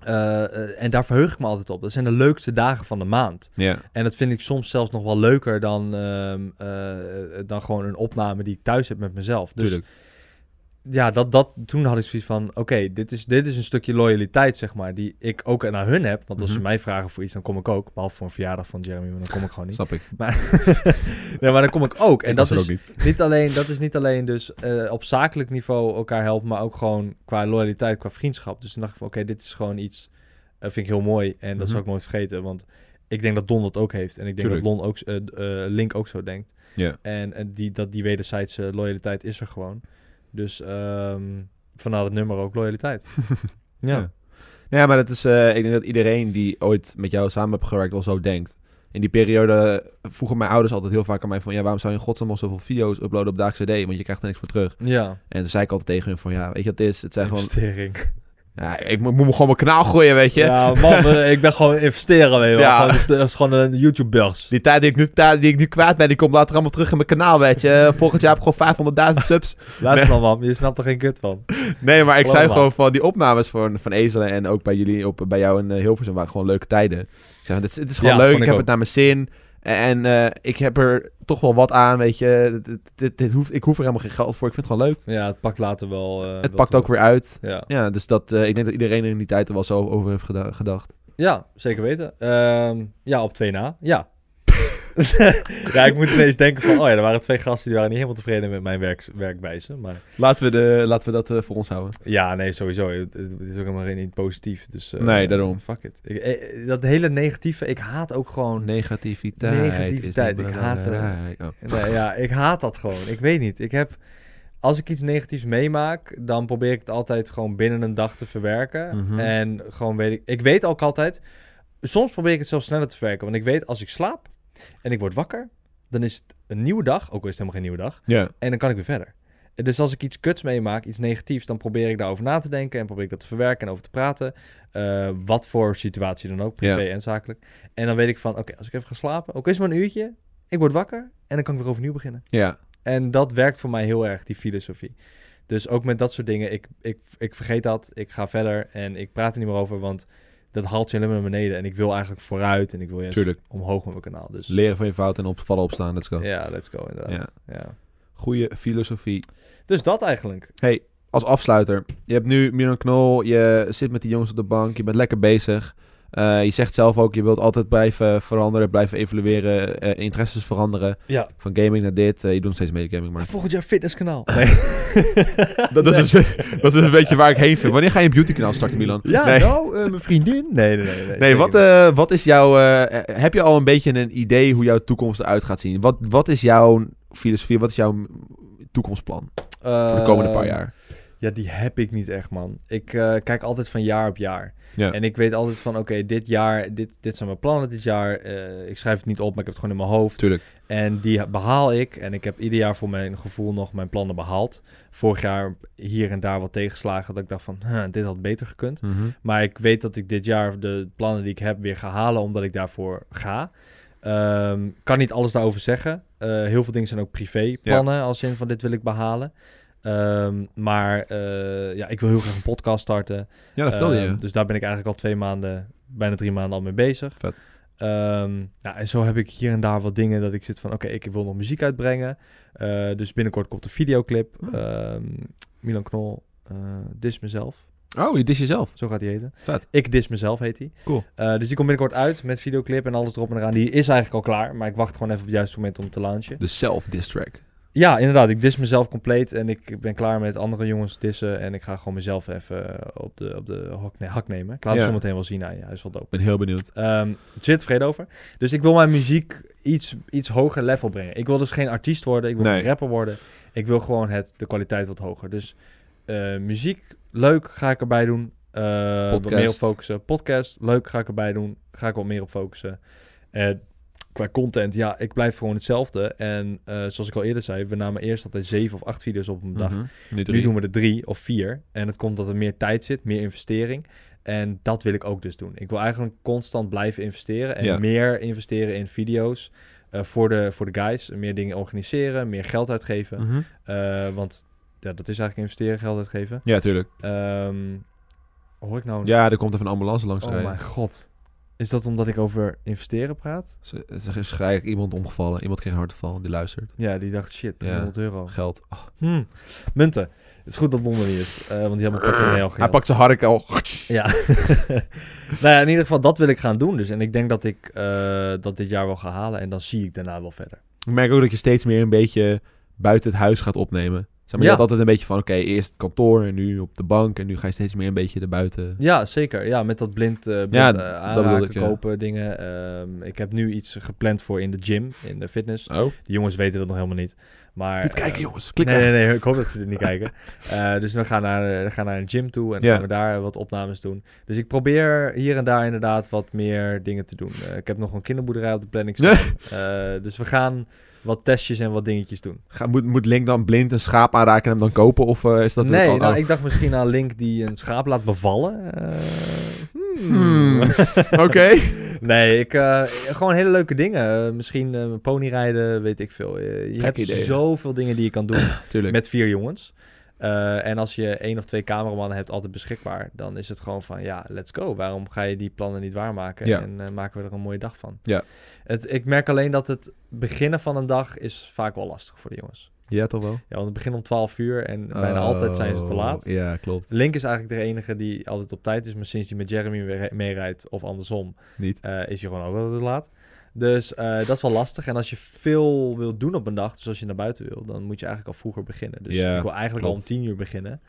eh, eh, en daar verheug ik me altijd op. Dat zijn de leukste dagen van de maand.
ja.
En dat vind ik soms zelfs nog wel leuker dan, ehm, eh, eh, dan gewoon een opname die ik thuis heb met mezelf. Dus
tuurlijk.
ja, dat, dat, toen had ik zoiets van, oké, dit, is, dit is een stukje loyaliteit, zeg maar, die ik ook naar hun heb. Want als ze
Mhm.
mij vragen voor iets, dan kom ik ook. Behalve voor een verjaardag van Jeremy, maar dan kom ik gewoon niet.
Snap ik.
Nee, maar dan kom ik ook. En
Ik
dat
was er
is,
ook niet.
niet alleen, dat is niet alleen dus eh, op zakelijk niveau elkaar helpen, maar ook gewoon qua loyaliteit, qua vriendschap. Dus toen dacht ik van, oké, dit is gewoon iets, eh, vind ik heel mooi en dat
Mhm.
zal ik nooit vergeten, want ik denk dat Don dat ook heeft en ik denk
Tuurlijk.
dat Lon ook, eh, d- eh, Link ook zo denkt.
Ja.
En, eh, die, dat die wederzijdse loyaliteit is er gewoon. Dus ehm vanaf het nummer ook loyaliteit. ja.
Ja. Nou ja, maar dat is, eh, ik denk dat iedereen die ooit met jou samen heeft gewerkt wel zo denkt. In die periode vroegen mijn ouders altijd heel vaak aan mij van... ja, waarom zou je in godsnaam al zoveel video's uploaden op Daagse D? Want je krijgt er niks voor terug.
Ja,
En toen zei ik altijd tegen hun van... ja, weet je wat het is? Het zijn gewoon...
investering.
Ja, ik moet, moet me gewoon mijn kanaal groeien, weet je?
Ja, man, eh, ik ben gewoon investeren, weet je wel.
Ja.
Gewoon, dus, dat is gewoon een YouTube-beurs.
Die tijd die ik, nu, tijd die ik nu kwaad ben, die komt later allemaal terug in mijn kanaal, weet je? Volgend jaar heb ik gewoon 500.000 subs.
Luister dan, man. Je snapt er geen kut van.
Nee, maar ik
Geloof
zei
me.
gewoon van die opnames van, van Ezelen en ook bij jullie, op, bij jou in eh, Hilversum, waren gewoon leuke tijden. Ik zei, dit is, dit is gewoon
Ja,
leuk, ik
vond ik
heb
ook.
het naar mijn zin. En eh, ik heb er toch wel wat aan, weet je. Dit, dit, dit hoeft, ik hoef er helemaal geen geld voor, ik vind het gewoon leuk.
Ja, het pakt later wel. eh,
het
wel
pakt ook
terug.
weer uit.
Ja.
Ja, dus dat, eh, ik denk dat iedereen er in die tijd er wel zo over heeft geda- gedacht.
ja, zeker weten. Ehm, ja, op 2 na. Ja. ja, ik moet ineens denken van, oh ja, er waren twee gasten die waren niet helemaal tevreden met mijn werk, werkwijze. Maar
Laten we, de, laten we dat eh, voor ons houden.
ja, nee, sowieso. Het, het is ook helemaal geen- niet positief. Dus, eh,
Nee, daarom.
Fuck it. Ik- eh, dat hele negatieve, ik haat ook gewoon...
Oh, Negativiteit.
Negativiteit,
is niet
ik haat het.
belangrijk. Oh.
Nee, ja, ik haat dat gewoon. Ik weet niet. Ik heb, als ik iets negatiefs meemaak, dan probeer ik het altijd gewoon binnen een dag te verwerken.
Mhm.
En gewoon weet ik, ik weet ook altijd, soms probeer ik het zelfs sneller te verwerken. Want ik weet, als ik slaap en ik word wakker, dan is het een nieuwe dag. Ook al is het helemaal geen nieuwe dag.
Ja,
En dan kan ik weer verder. Dus als ik iets kuts meemaak, iets negatiefs, dan probeer ik daarover na te denken en probeer ik dat te verwerken en over te praten. Eh, wat voor situatie dan ook, privé en zakelijk. En dan weet ik van, oké, als ik even ga slapen, ook is het maar een uurtje, ik word wakker en dan kan ik weer overnieuw beginnen.
ja.
En dat werkt voor mij heel erg, die filosofie. Dus ook met dat soort dingen, ik, ik, ik vergeet dat, ik ga verder en ik praat er niet meer over, want dat haalt je alleen maar naar beneden. En ik wil eigenlijk vooruit en ik wil juist
tuurlijk.
omhoog met mijn kanaal. Dus
Leren van je fouten en op, vallen opstaan, let's go.
ja, let's go inderdaad. Ja.
Goede filosofie.
Dus dat eigenlijk.
hey, als afsluiter. Je hebt nu Milan Knol, je zit met die jongens op de bank, je bent lekker bezig. Eh, je zegt zelf ook, je wilt altijd blijven veranderen, blijven evalueren, eh, interesses veranderen.
Ja.
Van gaming naar dit, eh, je doet nog steeds mee gaming, maar...
Volgend jaar fitnesskanaal. Nee.
Dat, dat is, een- dat is dus een beetje waar ik heen vind. Wanneer ga je een beautykanaal starten, Milan?
Ja,
nee.
nou, eh, mijn vriendin. Nee, nee, nee. Nee,
Nee,
zeker
wat,
niet.
eh, wat is jouw... eh, heb je al een beetje een idee hoe jouw toekomst eruit gaat zien? Wat, wat is jouw filosofie, wat is jouw toekomstplan voor de komende paar
Eh,
jaar?
Ja, die heb ik niet echt, man. Ik eh, kijk altijd van jaar op jaar.
Ja.
En ik weet altijd van, oké, dit jaar, dit, dit zijn mijn plannen dit jaar. Eh, ik schrijf het niet op, maar ik heb het gewoon in mijn hoofd.
Tuurlijk.
En die behaal ik. En ik heb ieder jaar voor mijn gevoel nog mijn plannen behaald. Vorig jaar hier en daar wat tegenslagen. Dat ik dacht van, huh, dit had beter gekund.
Mhm.
Maar ik weet dat ik dit jaar de plannen die ik heb weer ga halen, omdat ik daarvoor ga. Ehm, kan niet alles daarover zeggen. Eh, heel veel dingen zijn ook privéplannen, als in van dit wil ik behalen. Ehm, maar eh, ja, ik wil heel graag een podcast starten.
Ja, dat vertelde
Ehm,
je.
Dus daar ben ik eigenlijk al twee maanden, bijna drie maanden al mee bezig.
Vet.
Ehm, nou, en zo heb ik hier en daar wat dingen dat ik zit van... oké, ik wil nog muziek uitbrengen. Eh, dus binnenkort komt een videoclip.
Hmm.
Ehm, Milan Knol, eh Dis mezelf.
Oh, je dis jezelf.
Zo gaat die heten.
Vet.
Ik Dis Mezelf heet die.
Cool.
Eh, dus die komt binnenkort uit met videoclip en alles erop en eraan. Die is eigenlijk al klaar, maar ik wacht gewoon even op het juiste moment om te launchen.
De self-diss track.
Ja, inderdaad. Ik dis mezelf compleet en ik ben klaar met andere jongens dissen. En ik ga gewoon mezelf even op de, op de hak, nee, hak nemen. Ik laat
Ja.
het zo meteen wel zien aan je. Hij is wel dope.
Ik ben heel benieuwd.
Ehm, er zit vrede over. Dus ik wil mijn muziek iets, iets hoger level brengen. Ik wil dus geen artiest worden. Ik wil
Nee.
geen rapper worden. Ik wil gewoon het, de kwaliteit wat hoger. Dus eh, muziek, leuk, ga ik erbij doen. Eh wat
Podcast.
meer op focussen. Podcast, leuk, ga ik erbij doen. Ga ik wat meer op focussen. En qua content, ja, ik blijf gewoon hetzelfde. En eh, zoals ik al eerder zei, we namen eerst altijd zeven of acht video's op een dag.
Mhm. Nu
Nu doen we er drie of vier. En dat komt dat er meer tijd zit, meer investering. En dat wil ik ook dus doen. Ik wil eigenlijk constant blijven investeren. En
Ja.
meer investeren in video's eh, voor, de, voor de guys. Meer dingen organiseren, meer geld uitgeven.
Mhm.
Eh, want ja, dat is eigenlijk investeren, geld uitgeven.
Ja, tuurlijk.
Ehm, hoor ik nou... een-
Ja, er komt even een ambulance langs
oh
rijden.
mijn god. Is dat omdat ik over investeren praat?
Ze- Er is gelijk iemand omgevallen. Iemand kreeg een hartaanval. Die luistert.
Ja, die dacht shit,
Ja.
300 euro.
Geld. Oh,
Hm, Munten. Het is goed dat Londen niet is. eh, want die hebben een portemonnee al
hij
gejat.
pakt zijn hark al.
Ja. nou ja, in ieder geval, dat wil ik gaan doen. Dus. En ik denk dat ik eh, dat dit jaar wel ga halen. En dan zie ik daarna wel verder.
Ik merk ook dat je steeds meer een beetje buiten het huis gaat opnemen. Zeg maar, Je
Ja.
had altijd een beetje van, oké, eerst het kantoor en nu op de bank. En nu ga je steeds meer een beetje erbuiten.
Ja, zeker. Ja, met dat blind, eh blind
Ja,
eh,
dat bedoelde
aanraken,
ik, ja.
kopen, dingen. Ehm, ik heb nu iets gepland voor in de gym, in de fitness.
Oh.
De jongens weten dat nog helemaal niet. Maar,
Niet kijken,
eh,
jongens. Klik
nee,
weg.
nee, nee, ik hoop dat ze dit niet kijken. Eh, dus we gaan, naar, we gaan naar een gym toe en
Ja.
gaan we daar wat opnames doen. Dus ik probeer hier en daar inderdaad wat meer dingen te doen. Eh, ik heb nog een kinderboerderij op de planning staan. Eh, dus we gaan wat testjes en wat dingetjes doen.
Ga- moet, moet Link dan blind een schaap aanraken en hem dan kopen? Of eh, is dat...
nee,
oh,
nou,
oh.
ik dacht misschien aan Link die een schaap laat bevallen. Eh,
Hmm. Oké.
nee, ik, eh, gewoon hele leuke dingen. Eh, misschien eh ponyrijden, weet ik veel. Eh, je
Gek
hebt
idee.
zoveel dingen die je kan doen
Tuurlijk.
met vier jongens. Eh, en als je één of twee cameramannen hebt altijd beschikbaar, dan is het gewoon van ja, let's go. Waarom ga je die plannen niet waarmaken?
Ja.
En eh, maken we er een mooie dag van.
Ja.
Het, ik merk alleen dat het beginnen van een dag is vaak wel lastig voor de jongens.
Ja, toch wel?
Ja, want het begint om 12 uur en bijna altijd zijn ze te
Oh,
laat.
Ja, klopt.
Link is eigenlijk de enige die altijd op tijd is, maar sinds hij met Jeremy weer re- meerijdt of andersom,
Niet.
eh, is hij gewoon ook altijd laat. Dus eh, dat is wel lastig. En als je veel wilt doen op een dag, dus als je naar buiten wil, dan moet je eigenlijk al vroeger beginnen. Dus
Ja,
ik wil eigenlijk al om
klopt.
tien uur beginnen.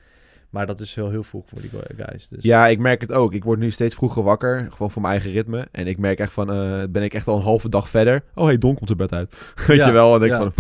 Maar dat is heel, heel vroeg voor die guys. Dus
Ja, ik merk het ook. Ik word nu steeds vroeger wakker, gewoon voor mijn eigen ritme. En ik merk echt van, eh, ben ik echt al een halve dag verder. Oh, hey, Don komt zijn bed uit. Weet
Ja,
je wel? En ik
ja.
van,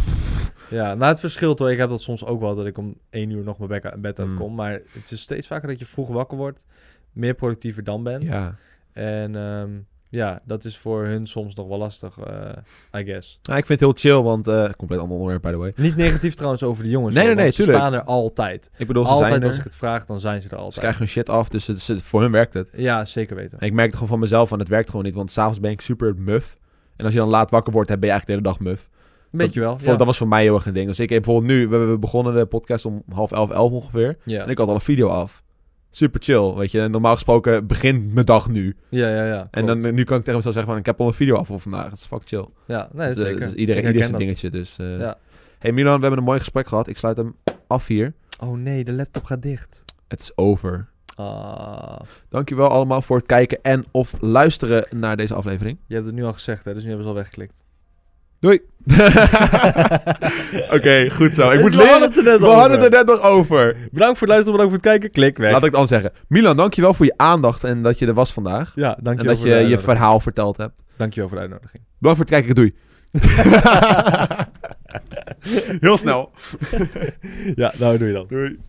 ja nou het verschilt hoor. Ik heb dat soms ook wel, dat ik om één uur nog mijn bek- bed
Mm.
uitkom. Maar het is steeds vaker dat je vroeg wakker wordt, meer productiever dan bent.
ja.
En ehm, ja, dat is voor hun soms nog wel lastig, eh, I guess.
Nou, ik vind het heel chill, want... eh, compleet ander onderwerp, by the way.
Niet negatief trouwens over de jongens.
Nee,
hoor,
nee,
want
nee,
Ze
tuurlijk.
staan er altijd.
Ik bedoel, ze zijn
altijd
er.
als ik het vraag, dan zijn ze er
Ze
altijd.
krijgen hun shit af, dus het, het- voor hun werkt het.
Ja, zeker weten.
En ik merk het gewoon van mezelf, van het werkt gewoon niet. Want s'avonds ben ik super muf. En als je dan laat wakker wordt, dan ben je eigenlijk de hele dag muf.
Weet je wel.
Voor-
Ja.
Dat was voor mij heel erg een ding. Dus ik heb bijvoorbeeld nu, we, we begonnen de podcast om half elf, elf ongeveer.
Ja.
En ik had al een video af. Super chill, weet je. En normaal gesproken begint mijn dag nu.
ja, ja, ja.
En
klopt.
dan, eh, nu kan ik tegen mezelf zeggen van, ik heb al een video af voor vandaag. Het is fucking chill.
Ja, nee,
Dus, eh,
zeker.
dus iedereen,
Ik
ieder
herken
zijn
dat.
dingetje. Dus, eh,
Ja.
hey Milan, we hebben een mooi gesprek gehad. Ik sluit hem af hier.
Oh nee, de laptop gaat dicht.
Het is over.
Ah,
Dankjewel allemaal voor het kijken en of luisteren naar deze aflevering.
je hebt het nu al gezegd, hè? Dus nu hebben ze al weggeklikt.
Doei. Oké, goed zo. Ik moet
We hadden
leren.
het er net
We hadden het
over.
er net nog over.
Bedankt voor het luisteren, bedankt voor het kijken. Klik weg.
Laat ik het dan zeggen. Milan, dankjewel voor je aandacht en dat je er was vandaag.
Ja,
En
dankjewel
dat
voor
je
de
je
uitnodiging.
verhaal verteld hebt.
Dankjewel voor de uitnodiging.
Bedankt voor het kijken, doei. Heel snel.
ja, nou doe je dan.
Doei.